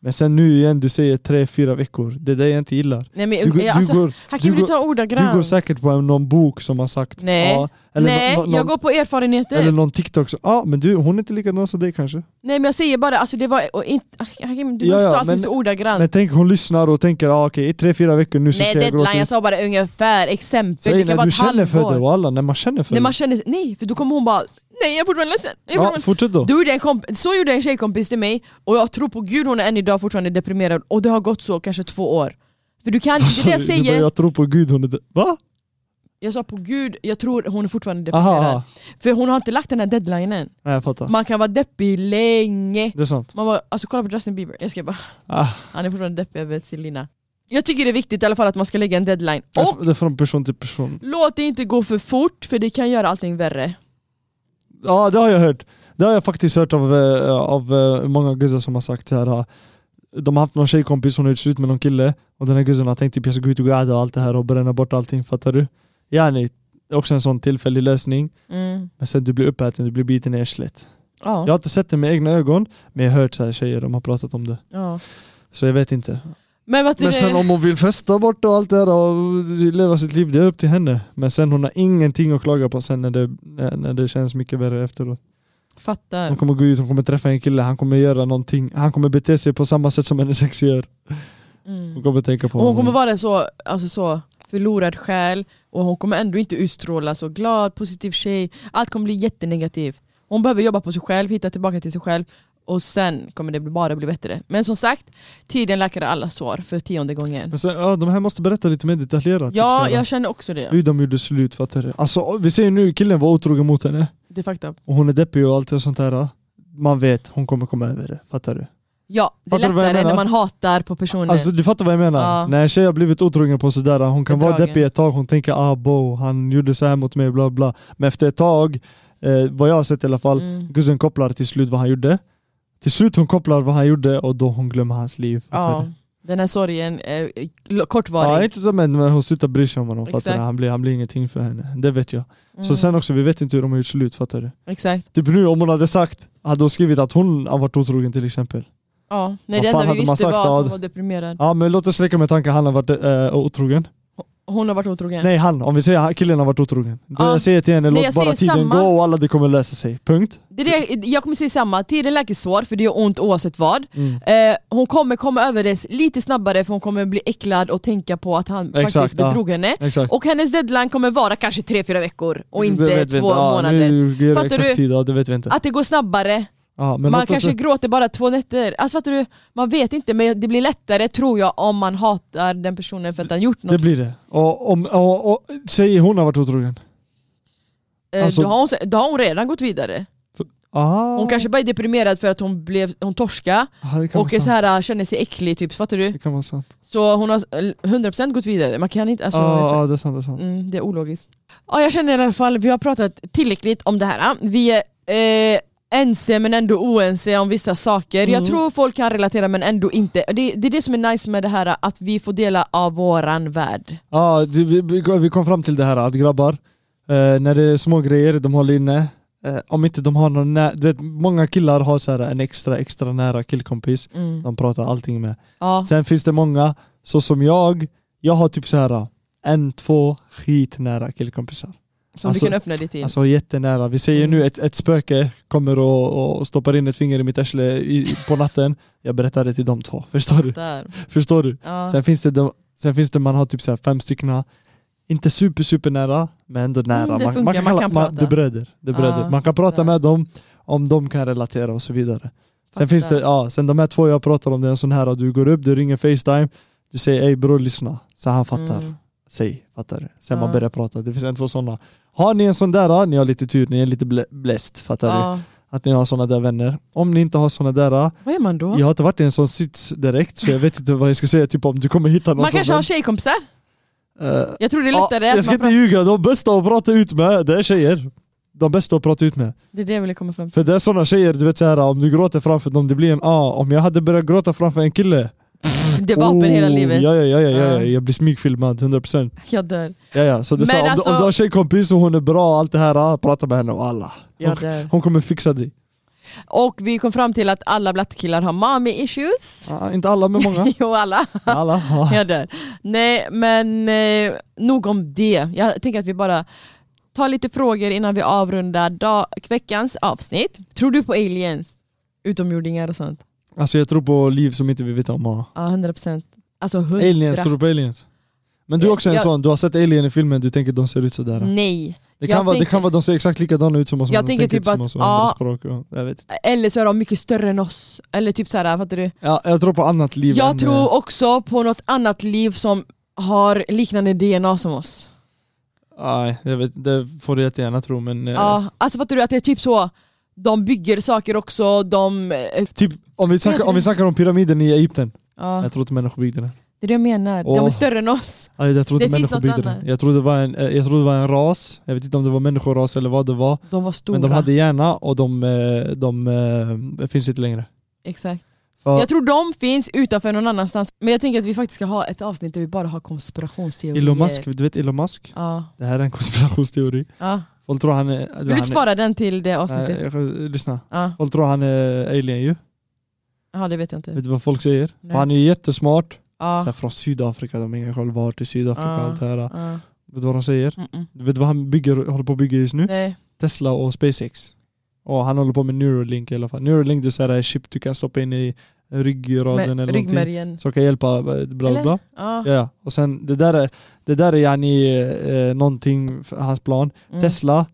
Speaker 3: Men sen nu igen, du säger tre, fyra veckor. Det är det jag inte gillar.
Speaker 2: Nej, men,
Speaker 3: Du, går-
Speaker 2: alltså,
Speaker 3: du, går,
Speaker 2: här kan
Speaker 3: du
Speaker 2: du
Speaker 3: går-
Speaker 2: ta
Speaker 3: du går
Speaker 2: ordagrant.
Speaker 3: säkert på en- någon bok som har sagt
Speaker 2: Nej.
Speaker 3: ja, eller
Speaker 2: Nej,
Speaker 3: nå- nå-
Speaker 2: jag går på erfarenheter.
Speaker 3: Eller någon TikTok som, ja men du, hon är inte likadan som dig kanske.
Speaker 2: Nej men jag säger bara, alltså, det var, och inte, Hakim, du
Speaker 3: Ja,
Speaker 2: måste
Speaker 3: ja,
Speaker 2: ta allting
Speaker 3: men-
Speaker 2: så ordagrant.
Speaker 3: Men tänk hon lyssnar och tänker, ah, okej i tre, fyra veckor nu så
Speaker 2: Nej
Speaker 3: ska jag gråta
Speaker 2: deadline, jag
Speaker 3: ut.
Speaker 2: sa bara ungefär, exempel.
Speaker 3: Säg
Speaker 2: det kan
Speaker 3: när
Speaker 2: vara
Speaker 3: du
Speaker 2: ett
Speaker 3: känner för det
Speaker 2: halvår.
Speaker 3: och alla, när man känner för
Speaker 2: När
Speaker 3: det.
Speaker 2: man känner sig, nej för då kommer hon bara Nej jag är fortfarande ledsen, jag är
Speaker 3: ja,
Speaker 2: fortfarande...
Speaker 3: fortsätt då.
Speaker 2: Då gjorde en komp- Så gjorde en tjejkompis till mig och jag tror på gud hon är än idag fortfarande deprimerad och det har gått så kanske två år För du kan, det är det jag
Speaker 3: Du bara,
Speaker 2: säger,
Speaker 3: jag tror på gud, hon är död. Va?
Speaker 2: jag sa på gud, jag tror hon är fortfarande
Speaker 3: Aha,
Speaker 2: deprimerad
Speaker 3: aha.
Speaker 2: För hon har inte lagt den här deadlinen
Speaker 3: Nej, jag fattar.
Speaker 2: Man kan vara deppig länge
Speaker 3: Det är sant.
Speaker 2: Man bara, alltså kolla på Justin Bieber, jag ska bara
Speaker 3: Ah,
Speaker 2: Han är fortfarande deppig över Selina Jag tycker det är viktigt i alla fall att man ska lägga en deadline
Speaker 3: det är
Speaker 2: Och
Speaker 3: fr- det är från person till person.
Speaker 2: låt det inte gå för fort för det kan göra allting värre
Speaker 3: Ja, det har jag hört. Det har jag faktiskt hört av, eh, av eh, många guzzar som har sagt så här. ah, De har haft någon tjejkompis, hon har gjort slut med någon kille och den här guzzen har tänkt typ jag ska gå ut och gada och allt det här och bränna bort allting, fattar du? Yani, det är också en sån tillfällig lösning.
Speaker 2: mm.
Speaker 3: Men sen du blir uppäten, du blir biten i arslet.
Speaker 2: ja.
Speaker 3: Jag har inte sett det med egna ögon, men jag har hört så här tjejer, de har pratat om det.
Speaker 2: Ja.
Speaker 3: Så jag vet inte.
Speaker 2: Men vad
Speaker 3: Men sen om hon vill festa bort och allt det här och leva sitt liv, det är upp till henne. Men sen hon har ingenting att klaga på sen när det, när när det känns mycket värre efteråt.
Speaker 2: Fattar.
Speaker 3: Hon kommer gå ut, hon kommer träffa en kille, han kommer göra någonting. Han kommer bete sig på samma sätt som hennes ex gör.
Speaker 2: Mm.
Speaker 3: Hon kommer tänka på
Speaker 2: Och hon kommer
Speaker 3: honom.
Speaker 2: vara så, alltså så förlorad själ och hon kommer ändå inte utstråla så glad, positiv tjej. Allt kommer bli jättenegativt. Hon behöver jobba på sig själv, hitta tillbaka till sig själv och sen kommer det bara bli bättre. Men som sagt, tiden läker alla sår för tionde gången.
Speaker 3: Men sen, ja, de här måste berätta lite mer detaljerat. typ så
Speaker 2: Ja,
Speaker 3: här,
Speaker 2: jag känner också det.
Speaker 3: Hur de gjorde slut, fattar du? Alltså vi säger nu killen var otrogen mot henne.
Speaker 2: Det är fakta.
Speaker 3: och hon är deppig och allt och sånt där. Man vet, hon kommer komma över det. Fattar du?
Speaker 2: Ja, det är
Speaker 3: Fattar du vad jag
Speaker 2: lättare när
Speaker 3: menar?
Speaker 2: man hatar på personen.
Speaker 3: Alltså du fattar vad jag menar?
Speaker 2: Ja.
Speaker 3: När en tjej har blivit otrogen på sådär, hon kan vara
Speaker 2: Bedragen.
Speaker 3: deppig ett tag, hon tänker ah bo, han gjorde så här mot mig, bla bla. Men efter ett tag, eh, vad jag har sett i alla fall,
Speaker 2: Mm.
Speaker 3: Gussen kopplar till slut vad han gjorde. Till slut hon kopplar vad han gjorde och då hon glömmer hans liv. Fattar
Speaker 2: ja.
Speaker 3: du?
Speaker 2: Den här sorgen, eh,
Speaker 3: ja,
Speaker 2: kortvarig.
Speaker 3: inte så men men hon slutar bry sig om honom, fattar du?
Speaker 2: Exakt.
Speaker 3: Han blir, han blir ingenting för henne, det vet jag. Så
Speaker 2: Mm,
Speaker 3: sen också, vi vet inte hur de har gjort slut, fattar du?
Speaker 2: Exakt.
Speaker 3: Typ nu om hon hade sagt, hade hon skrivit att hon har varit otrogen till exempel.
Speaker 2: Ja. Nej,
Speaker 3: Vad
Speaker 2: det
Speaker 3: fan
Speaker 2: enda vi
Speaker 3: hade man
Speaker 2: visste
Speaker 3: sagt
Speaker 2: var
Speaker 3: då?
Speaker 2: att hon var deprimerad.
Speaker 3: Ja men låt oss leka med tanken han har varit eh, otrogen.
Speaker 2: Hon har varit otrogen.
Speaker 3: Nej han, om vi säger han- killen har varit otrogen. Det
Speaker 2: Ja.
Speaker 3: jag säger till henne,
Speaker 2: Nej,
Speaker 3: låt
Speaker 2: jag
Speaker 3: bara
Speaker 2: säger
Speaker 3: tiden
Speaker 2: samma.
Speaker 3: gå och alla det kommer lösa sig. Punkt.
Speaker 2: Det är det, jag kommer säga samma, tiden läker sår för det gör ont oavsett vad.
Speaker 3: Mm.
Speaker 2: Eh, hon kommer komma över det lite snabbare för hon kommer bli äcklad och tänka på att han
Speaker 3: Exakt,
Speaker 2: faktiskt
Speaker 3: ja.
Speaker 2: bedrog henne.
Speaker 3: Exakt.
Speaker 2: Och hennes deadline kommer vara kanske 3-4 veckor och inte
Speaker 3: Det vet vi
Speaker 2: två
Speaker 3: inte. Ja,
Speaker 2: månader.
Speaker 3: Nu ger det
Speaker 2: Fattar
Speaker 3: exakt
Speaker 2: du?
Speaker 3: tid, ja, det vet vi inte.
Speaker 2: Att det går snabbare,
Speaker 3: Ja, men
Speaker 2: man
Speaker 3: låt oss-
Speaker 2: kanske gråter bara två nätter. Alltså fattar du, man vet inte men det blir lättare tror jag om man hatar den personen för att han gjort
Speaker 3: Det
Speaker 2: något.
Speaker 3: blir det. Och, om, och, och, säg hon har varit otrogen.
Speaker 2: Eh,
Speaker 3: alltså-
Speaker 2: då, har hon, se- då har hon redan gått vidare.
Speaker 3: Ah,
Speaker 2: Hon kanske bara är deprimerad för att hon, blev, hon torska
Speaker 3: ja, det kan
Speaker 2: och
Speaker 3: vara
Speaker 2: är så
Speaker 3: sant.
Speaker 2: här, äh, känner sig äcklig typ, fattar du?
Speaker 3: Det kan vara sant.
Speaker 2: Så hon har eh, 100% gått vidare, man kan inte... Alltså,
Speaker 3: ah, ah, det är sant, det är sant.
Speaker 2: Mm, det är ologiskt. Ja, jag känner i alla fall, vi har pratat tillräckligt om det här. Vi är eh, ense men ändå oense om vissa saker.
Speaker 3: Mm.
Speaker 2: Jag tror folk kan relatera men ändå inte. Det, det är det som är nice med det här, att vi får dela av våran värld.
Speaker 3: Ja, det- Ah, vi, vi- vi kom fram till det här att grabbar, eh, när det är små grejer de håller inne, eh, om inte de har någon nä- du vet, många killar har så här en extra, extra nära killkompis
Speaker 2: Mm.
Speaker 3: de pratar allting med.
Speaker 2: Ja.
Speaker 3: Sen finns det många, så som jag, jag har typ så här en, två skitnära killkompisar.
Speaker 2: Som
Speaker 3: Alltså-
Speaker 2: du kan öppna dig till.
Speaker 3: Alltså jättenära. Vi säger
Speaker 2: Mm.
Speaker 3: nu ett, ett spöke kommer och, och stoppar in ett finger i mitt arsle i- på natten. Jag berättar det till de två. Förstår du?
Speaker 2: Där.
Speaker 3: Förstår du?
Speaker 2: Ja.
Speaker 3: Sen finns det, de, sen finns det man har typ så här fem stycken, inte super super nära, men ändå nära.
Speaker 2: Mm, det funkar, man kan prata.
Speaker 3: det är bröder, det är bröder.
Speaker 2: Ah,
Speaker 3: man kan prata
Speaker 2: där.
Speaker 3: med dem om de kan relatera och så vidare. Sen
Speaker 2: Fattar.
Speaker 3: finns det, ja, sen de här två jag pratar om, det är en sån här, och du går upp, du ringer Facetime, du säger ey bror lyssna, så han fattar.
Speaker 2: Mm.
Speaker 3: Säg, fattar du? Sen
Speaker 2: Ja.
Speaker 3: man börjar prata, det finns en, två sådana. Har ni en sån där, ja, ni har lite tur, ni är lite blä- bläst, fattar du?
Speaker 2: Ja.
Speaker 3: Att ni har såna där vänner. Om ni inte har såna där, ja,
Speaker 2: Vad gör man då?
Speaker 3: jag har inte varit i en sån sits direkt så jag vet inte vad jag ska säga, typ om du kommer hitta någon
Speaker 2: Man
Speaker 3: sån
Speaker 2: kanske
Speaker 3: vän.
Speaker 2: har tjejkompisar?
Speaker 3: Eh,
Speaker 2: Jag tror det är
Speaker 3: ja,
Speaker 2: lättare
Speaker 3: jag
Speaker 2: att
Speaker 3: ska
Speaker 2: man
Speaker 3: inte
Speaker 2: pratar...
Speaker 3: ljuga, de bästa att prata ut med, det är tjejer. De bästa att prata ut med.
Speaker 2: Det är det jag ville komma fram till.
Speaker 3: För det är såna tjejer, du vet såhär, om du gråter framför dem, det blir en ah, om jag hade börjat gråta framför en kille.
Speaker 2: Det är vapen hela
Speaker 3: oh,
Speaker 2: livet.
Speaker 3: Ja, ja, ja, ja, ja,
Speaker 2: Ja.
Speaker 3: jag blir smygfilmad 100%.
Speaker 2: Jag dör.
Speaker 3: Ja, ja. Så det är
Speaker 2: Men
Speaker 3: så, om,
Speaker 2: alltså-
Speaker 3: du, om du har tjejkompis och hon är bra och allt det här, ah, prata med henne och alla.
Speaker 2: Jag dör.
Speaker 3: Hon kommer fixa dig.
Speaker 2: Och vi kom fram till att alla blattekillar har mommy issues.
Speaker 3: Ah, inte alla, men många.
Speaker 2: Jo alla.
Speaker 3: alla. Ah.
Speaker 2: Jag dör. Nej men eh, nog om det. Jag tänker att vi bara tar lite frågor innan vi avrundar dag- veckans avsnitt. Tror du på aliens? Utomjordingar och sånt?
Speaker 3: Alltså jag tror på liv som inte vi vet om. Ah.
Speaker 2: Ja, 100%. Alltså 100.
Speaker 3: Aliens, tror du på aliens? Men du är också en
Speaker 2: Jag-
Speaker 3: sån, du har sett alien i filmen, du tänker de ser ut sådär.
Speaker 2: Nej.
Speaker 3: Det
Speaker 2: Mm. jag
Speaker 3: kan, vara, det
Speaker 2: tänker-
Speaker 3: kan vara de ser exakt likadana ut som oss,
Speaker 2: Jag
Speaker 3: de
Speaker 2: tänker typ
Speaker 3: inte som
Speaker 2: att-
Speaker 3: oss och andra
Speaker 2: ja.
Speaker 3: språk. Och, jag, vet. inte.
Speaker 2: Eller så är de mycket större än oss. Eller typ så här, fattar du?
Speaker 3: Ja, jag tror på annat liv
Speaker 2: Jag
Speaker 3: än, eh,
Speaker 2: tror också på något annat liv som har liknande DNA som oss.
Speaker 3: Nej, jag vet, det får du jättegärna tro men... eh,
Speaker 2: Ja, alltså fattar du att det är typ så, de bygger saker också, de... eh,
Speaker 3: Typ, om vi, snackar, om vi snackar om pyramiden i Egypten,
Speaker 2: Ja,
Speaker 3: jag tror inte människor byggde den.
Speaker 2: det är det jag menar. De
Speaker 3: Åh.
Speaker 2: är större än oss.
Speaker 3: Nej, Jag tror
Speaker 2: Det
Speaker 3: inte
Speaker 2: finns
Speaker 3: människor
Speaker 2: något
Speaker 3: byggde den.
Speaker 2: annat.
Speaker 3: Jag tror, det var en, eh, jag tror det var en ras, jag vet inte om det var människoras eller vad det var.
Speaker 2: De var stora.
Speaker 3: Men de hade hjärna och de, eh, de, eh, finns inte längre.
Speaker 2: Exakt.
Speaker 3: För
Speaker 2: Jag tror de finns utanför någon annanstans. Men jag tänker att vi faktiskt ska ha ett avsnitt där vi bara har konspirationsteorier.
Speaker 3: Elon Musk, du vet Elon Musk?
Speaker 2: Ja.
Speaker 3: Det här är en konspirationsteori.
Speaker 2: ja.
Speaker 3: Folk tror han är...
Speaker 2: Vill du
Speaker 3: han är-
Speaker 2: inte spara den till det avsnittet?
Speaker 3: Nej, jag- jag- lyssna.
Speaker 2: Ja,
Speaker 3: Folk tror han är alien ju.
Speaker 2: ja det vet jag inte.
Speaker 3: Vet du vad folk säger? För
Speaker 2: Nej.
Speaker 3: han är ju jättesmart. Så här,
Speaker 2: Ja. Ah.
Speaker 3: från Sydafrika, de har ingen koll vart i Sydafrika och
Speaker 2: Ja.
Speaker 3: allt det här.
Speaker 2: Ja.
Speaker 3: Vet du vad de säger?
Speaker 2: Mm-mm.
Speaker 3: Vet du vad han bygger, håller på att bygga just nu?
Speaker 2: Nej.
Speaker 3: Tesla och SpaceX. Och han håller på med Neuralink i alla fall. Neuralink det är så här, ett chip du kan stoppa in i ryggraden eller
Speaker 2: Med
Speaker 3: någonting.
Speaker 2: ryggmärgen.
Speaker 3: Som kan hjälpa eh, bla bla
Speaker 2: Eller? Ah.
Speaker 3: bla.
Speaker 2: Ja.
Speaker 3: Ja, ja. Och sen det där är, det där är yani eh, någonting, för hans plan.
Speaker 2: Mm.
Speaker 3: Tesla,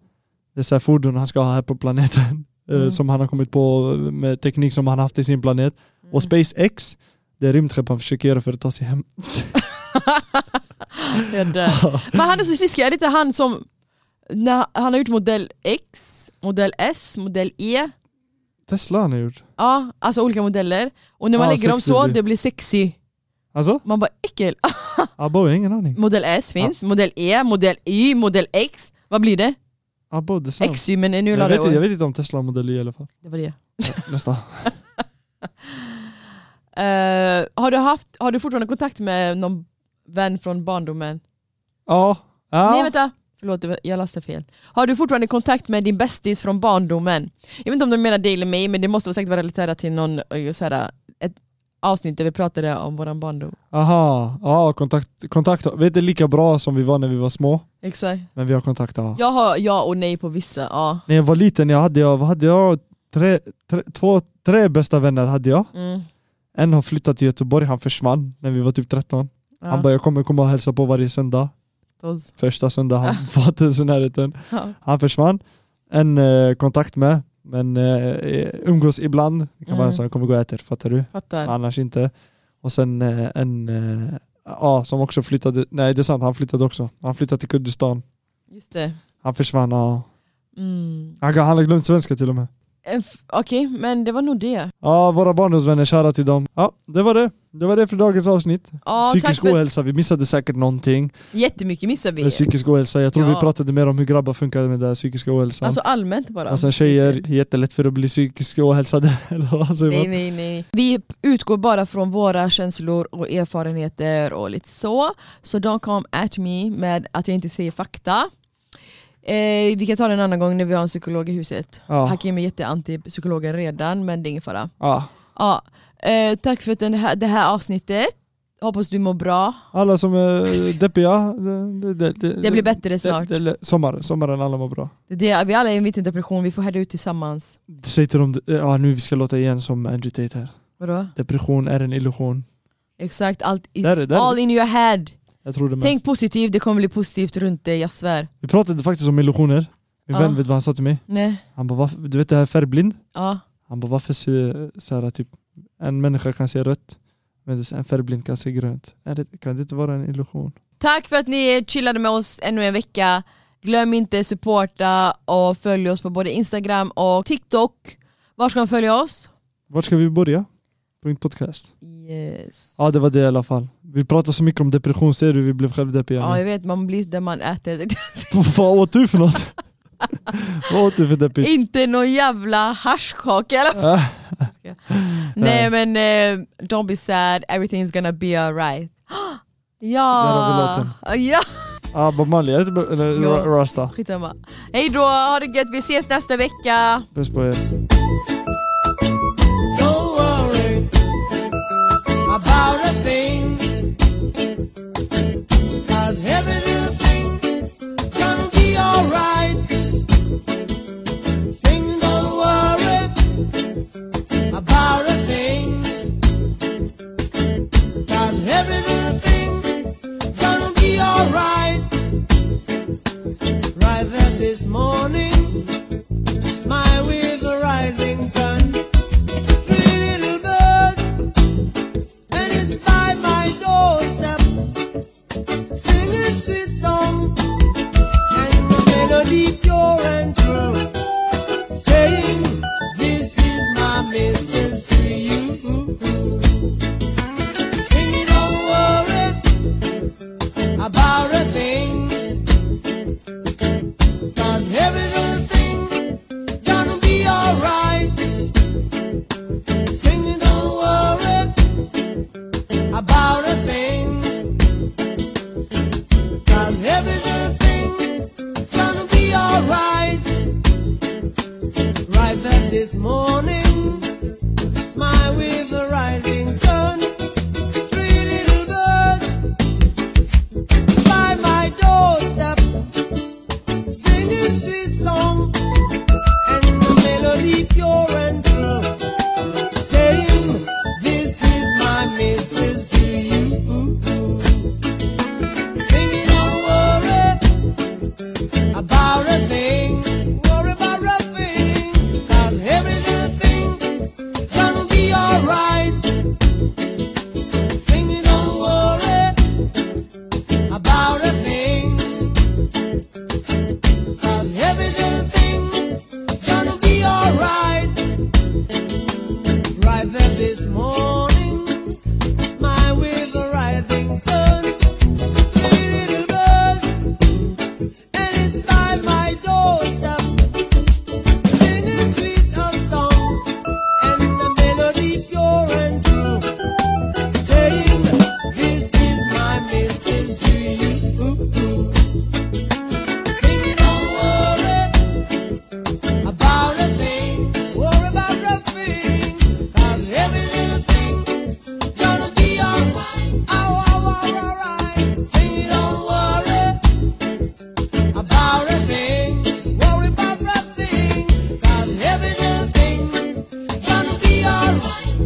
Speaker 3: det är så här fordon han ska ha här på planeten. eh,
Speaker 2: Mm.
Speaker 3: Som han har kommit på eh, med teknik som han haft i sin planet.
Speaker 2: Mm.
Speaker 3: Och SpaceX, det är rymdskepp han försöker göra för att ta sig hem.
Speaker 2: Jag dör. Men han är så sliskig, är det inte han som... När han har gjort modell X, modell S, modell E.
Speaker 3: Tesla han har gjort.
Speaker 2: Ja, alltså olika modeller. Och när man
Speaker 3: Ja,
Speaker 2: lägger dem
Speaker 3: sexy
Speaker 2: så,
Speaker 3: blir-
Speaker 2: det blir sexy.
Speaker 3: Alltså?
Speaker 2: Man bara äckel. Ah,
Speaker 3: Abba jag har ingen aning.
Speaker 2: Modell S finns, modell E, modell Y, modell X. Vad blir det?
Speaker 3: Abba design.
Speaker 2: XY men nu
Speaker 3: Men
Speaker 2: la
Speaker 3: jag,
Speaker 2: det
Speaker 3: vet,
Speaker 2: år.
Speaker 3: inte- jag vet inte om Tesla har modell i alla fall.
Speaker 2: Det var det.
Speaker 3: Nästa.
Speaker 2: Eh, har, du haft, har du fortfarande kontakt med någon vän från barndomen?
Speaker 3: Ja.
Speaker 2: Nej
Speaker 3: ja.
Speaker 2: vänta, förlåt det var- jag läste fel. Har du fortfarande kontakt med din bästis från barndomen? Jag vet inte om de menar dig eller mig men det måste väl säkert vara relaterat till någon, eh, så här, ett avsnitt där vi pratade om våran barndom.
Speaker 3: Aha. Ja, kontakt, kontakt. Vi är inte lika bra som vi var när vi var små.
Speaker 2: Exakt.
Speaker 3: Men vi har kontakt, ja.
Speaker 2: Jag har ja och nej på vissa. Ja.
Speaker 3: När jag var liten, jag hade jag, vad hade jag? Tre, tre, två, tre bästa vänner hade jag.
Speaker 2: Mm.
Speaker 3: En har flyttat till Göteborg, han försvann när vi var typ 13.
Speaker 2: Ja.
Speaker 3: Han bara, jag kommer komma och hälsa på varje söndag.
Speaker 2: Tos.
Speaker 3: Första söndag han var inte ens i närheten.
Speaker 2: Ja.
Speaker 3: Han försvann. En eh, kontakt med, men eh, umgås ibland. Det kan vara en
Speaker 2: Mm.
Speaker 3: sån, kommer gå och äter, fattar du?
Speaker 2: Fattar.
Speaker 3: Annars inte. Och sen eh, en, eh, ja, som också flyttade, nej det är sant, han flyttade också. Han flyttade till Kurdistan.
Speaker 2: Just det.
Speaker 3: Han försvann, ja.
Speaker 2: Mm.
Speaker 3: Han, han har glömt svenska till och med.
Speaker 2: Eh, f- Okej, men det var nog det.
Speaker 3: Ja, våra barndomsvänner, shoutout till dem. Ja, det var det. Det var det för dagens avsnitt.
Speaker 2: Ja, tack
Speaker 3: Psykisk
Speaker 2: för...
Speaker 3: ohälsa, vi missade säkert någonting.
Speaker 2: Jättemycket missar vi.
Speaker 3: Med psykisk ohälsa, jag tror
Speaker 2: Ja.
Speaker 3: vi pratade mer om hur grabbar funkar med den här psykiska ohälsan.
Speaker 2: Alltså allmänt bara.
Speaker 3: och sen tjejer, jättelätt för att bli psykiskt ohälsade. Eller vad säger
Speaker 2: Nej,
Speaker 3: man?
Speaker 2: nej, nej. Vi utgår bara från våra känslor och erfarenheter och lite så. Så don't come at me med att jag inte säger fakta. Eh, vi kan ta det en annan gång när vi har en psykolog i huset.
Speaker 3: Ja.
Speaker 2: Hakim är jätteanti psykologen redan men det är ingen fara.
Speaker 3: Ja.
Speaker 2: Ja, eh, tack för den här, det här avsnittet. Hoppas du mår bra.
Speaker 3: Alla som är deppiga, det, det, det,
Speaker 2: Det blir bättre snart.
Speaker 3: Det, det, sommar, sommaren, alla mår bra.
Speaker 2: Det, det, vi alla är mitt i en depression, vi får härda ut tillsammans.
Speaker 3: Säg till dem, ja nu vi ska låta igen som Andrew Tate här.
Speaker 2: Vadå?
Speaker 3: Depression är en illusion.
Speaker 2: Exakt, allt, it's
Speaker 3: Där är- Mm. där är-
Speaker 2: all in your head.
Speaker 3: Jag tror det med.
Speaker 2: Tänk positivt, det kommer bli positivt runt dig, jag svär.
Speaker 3: Vi pratade faktiskt om illusioner. Min
Speaker 2: Ja.
Speaker 3: vän vet vad han sa till mig.
Speaker 2: Nej,
Speaker 3: Han bara, "Varför- du vet det här färgblind?
Speaker 2: ja.
Speaker 3: Han bara, varför ser så här, typ, en människa kan se rött men en färgblind kan se grönt? Är det, kan det inte vara en illusion?
Speaker 2: Tack för att ni chillade med oss ännu en vecka. Glöm inte supporta och följ oss på både Instagram och TikTok. Var ska de följa oss?
Speaker 3: Vart ska vi börja? Punkt podcast.
Speaker 2: Yes.
Speaker 3: Ja det var det i alla fall. Vi pratade så mycket om depression, ser du vi blev självdeppiga
Speaker 2: Ja,
Speaker 3: nu.
Speaker 2: jag vet, man blir där man äter.
Speaker 3: Vad åt du för något? Vad åt du för deppigt?
Speaker 2: Inte någon jävla haschkaka i alla fall.
Speaker 3: Ah.
Speaker 2: Nej men eh, don't be sad, everything's gonna be alright.
Speaker 3: Där har
Speaker 2: ja! Ja!
Speaker 3: Ah, Bob Marley, är det inte- eller
Speaker 2: Jo.
Speaker 3: Ra- Rasta?
Speaker 2: Skitsamma. Hej då, ha det gött, vi ses nästa vecka!
Speaker 3: Puss på er.
Speaker 4: Don't worry about a thing. 'Cause every little thing gonna be alright. Sing, don't worry about a thing. 'Cause every little thing gonna be alright. Rise up this morning, smile with the rising. this morning, my with the rising sun. Three little birds, and it's by my doorstep, singing sweet of song, and the melody pure and true, saying, This is my message to you. Singing, don't worry about a thing, worry about nothing, 'cause every little thing gonna be alright. Oh, oh, oh, alright. Say don't worry about a thing, worry about nothing, 'cause every little thing gonna be alright. Oh,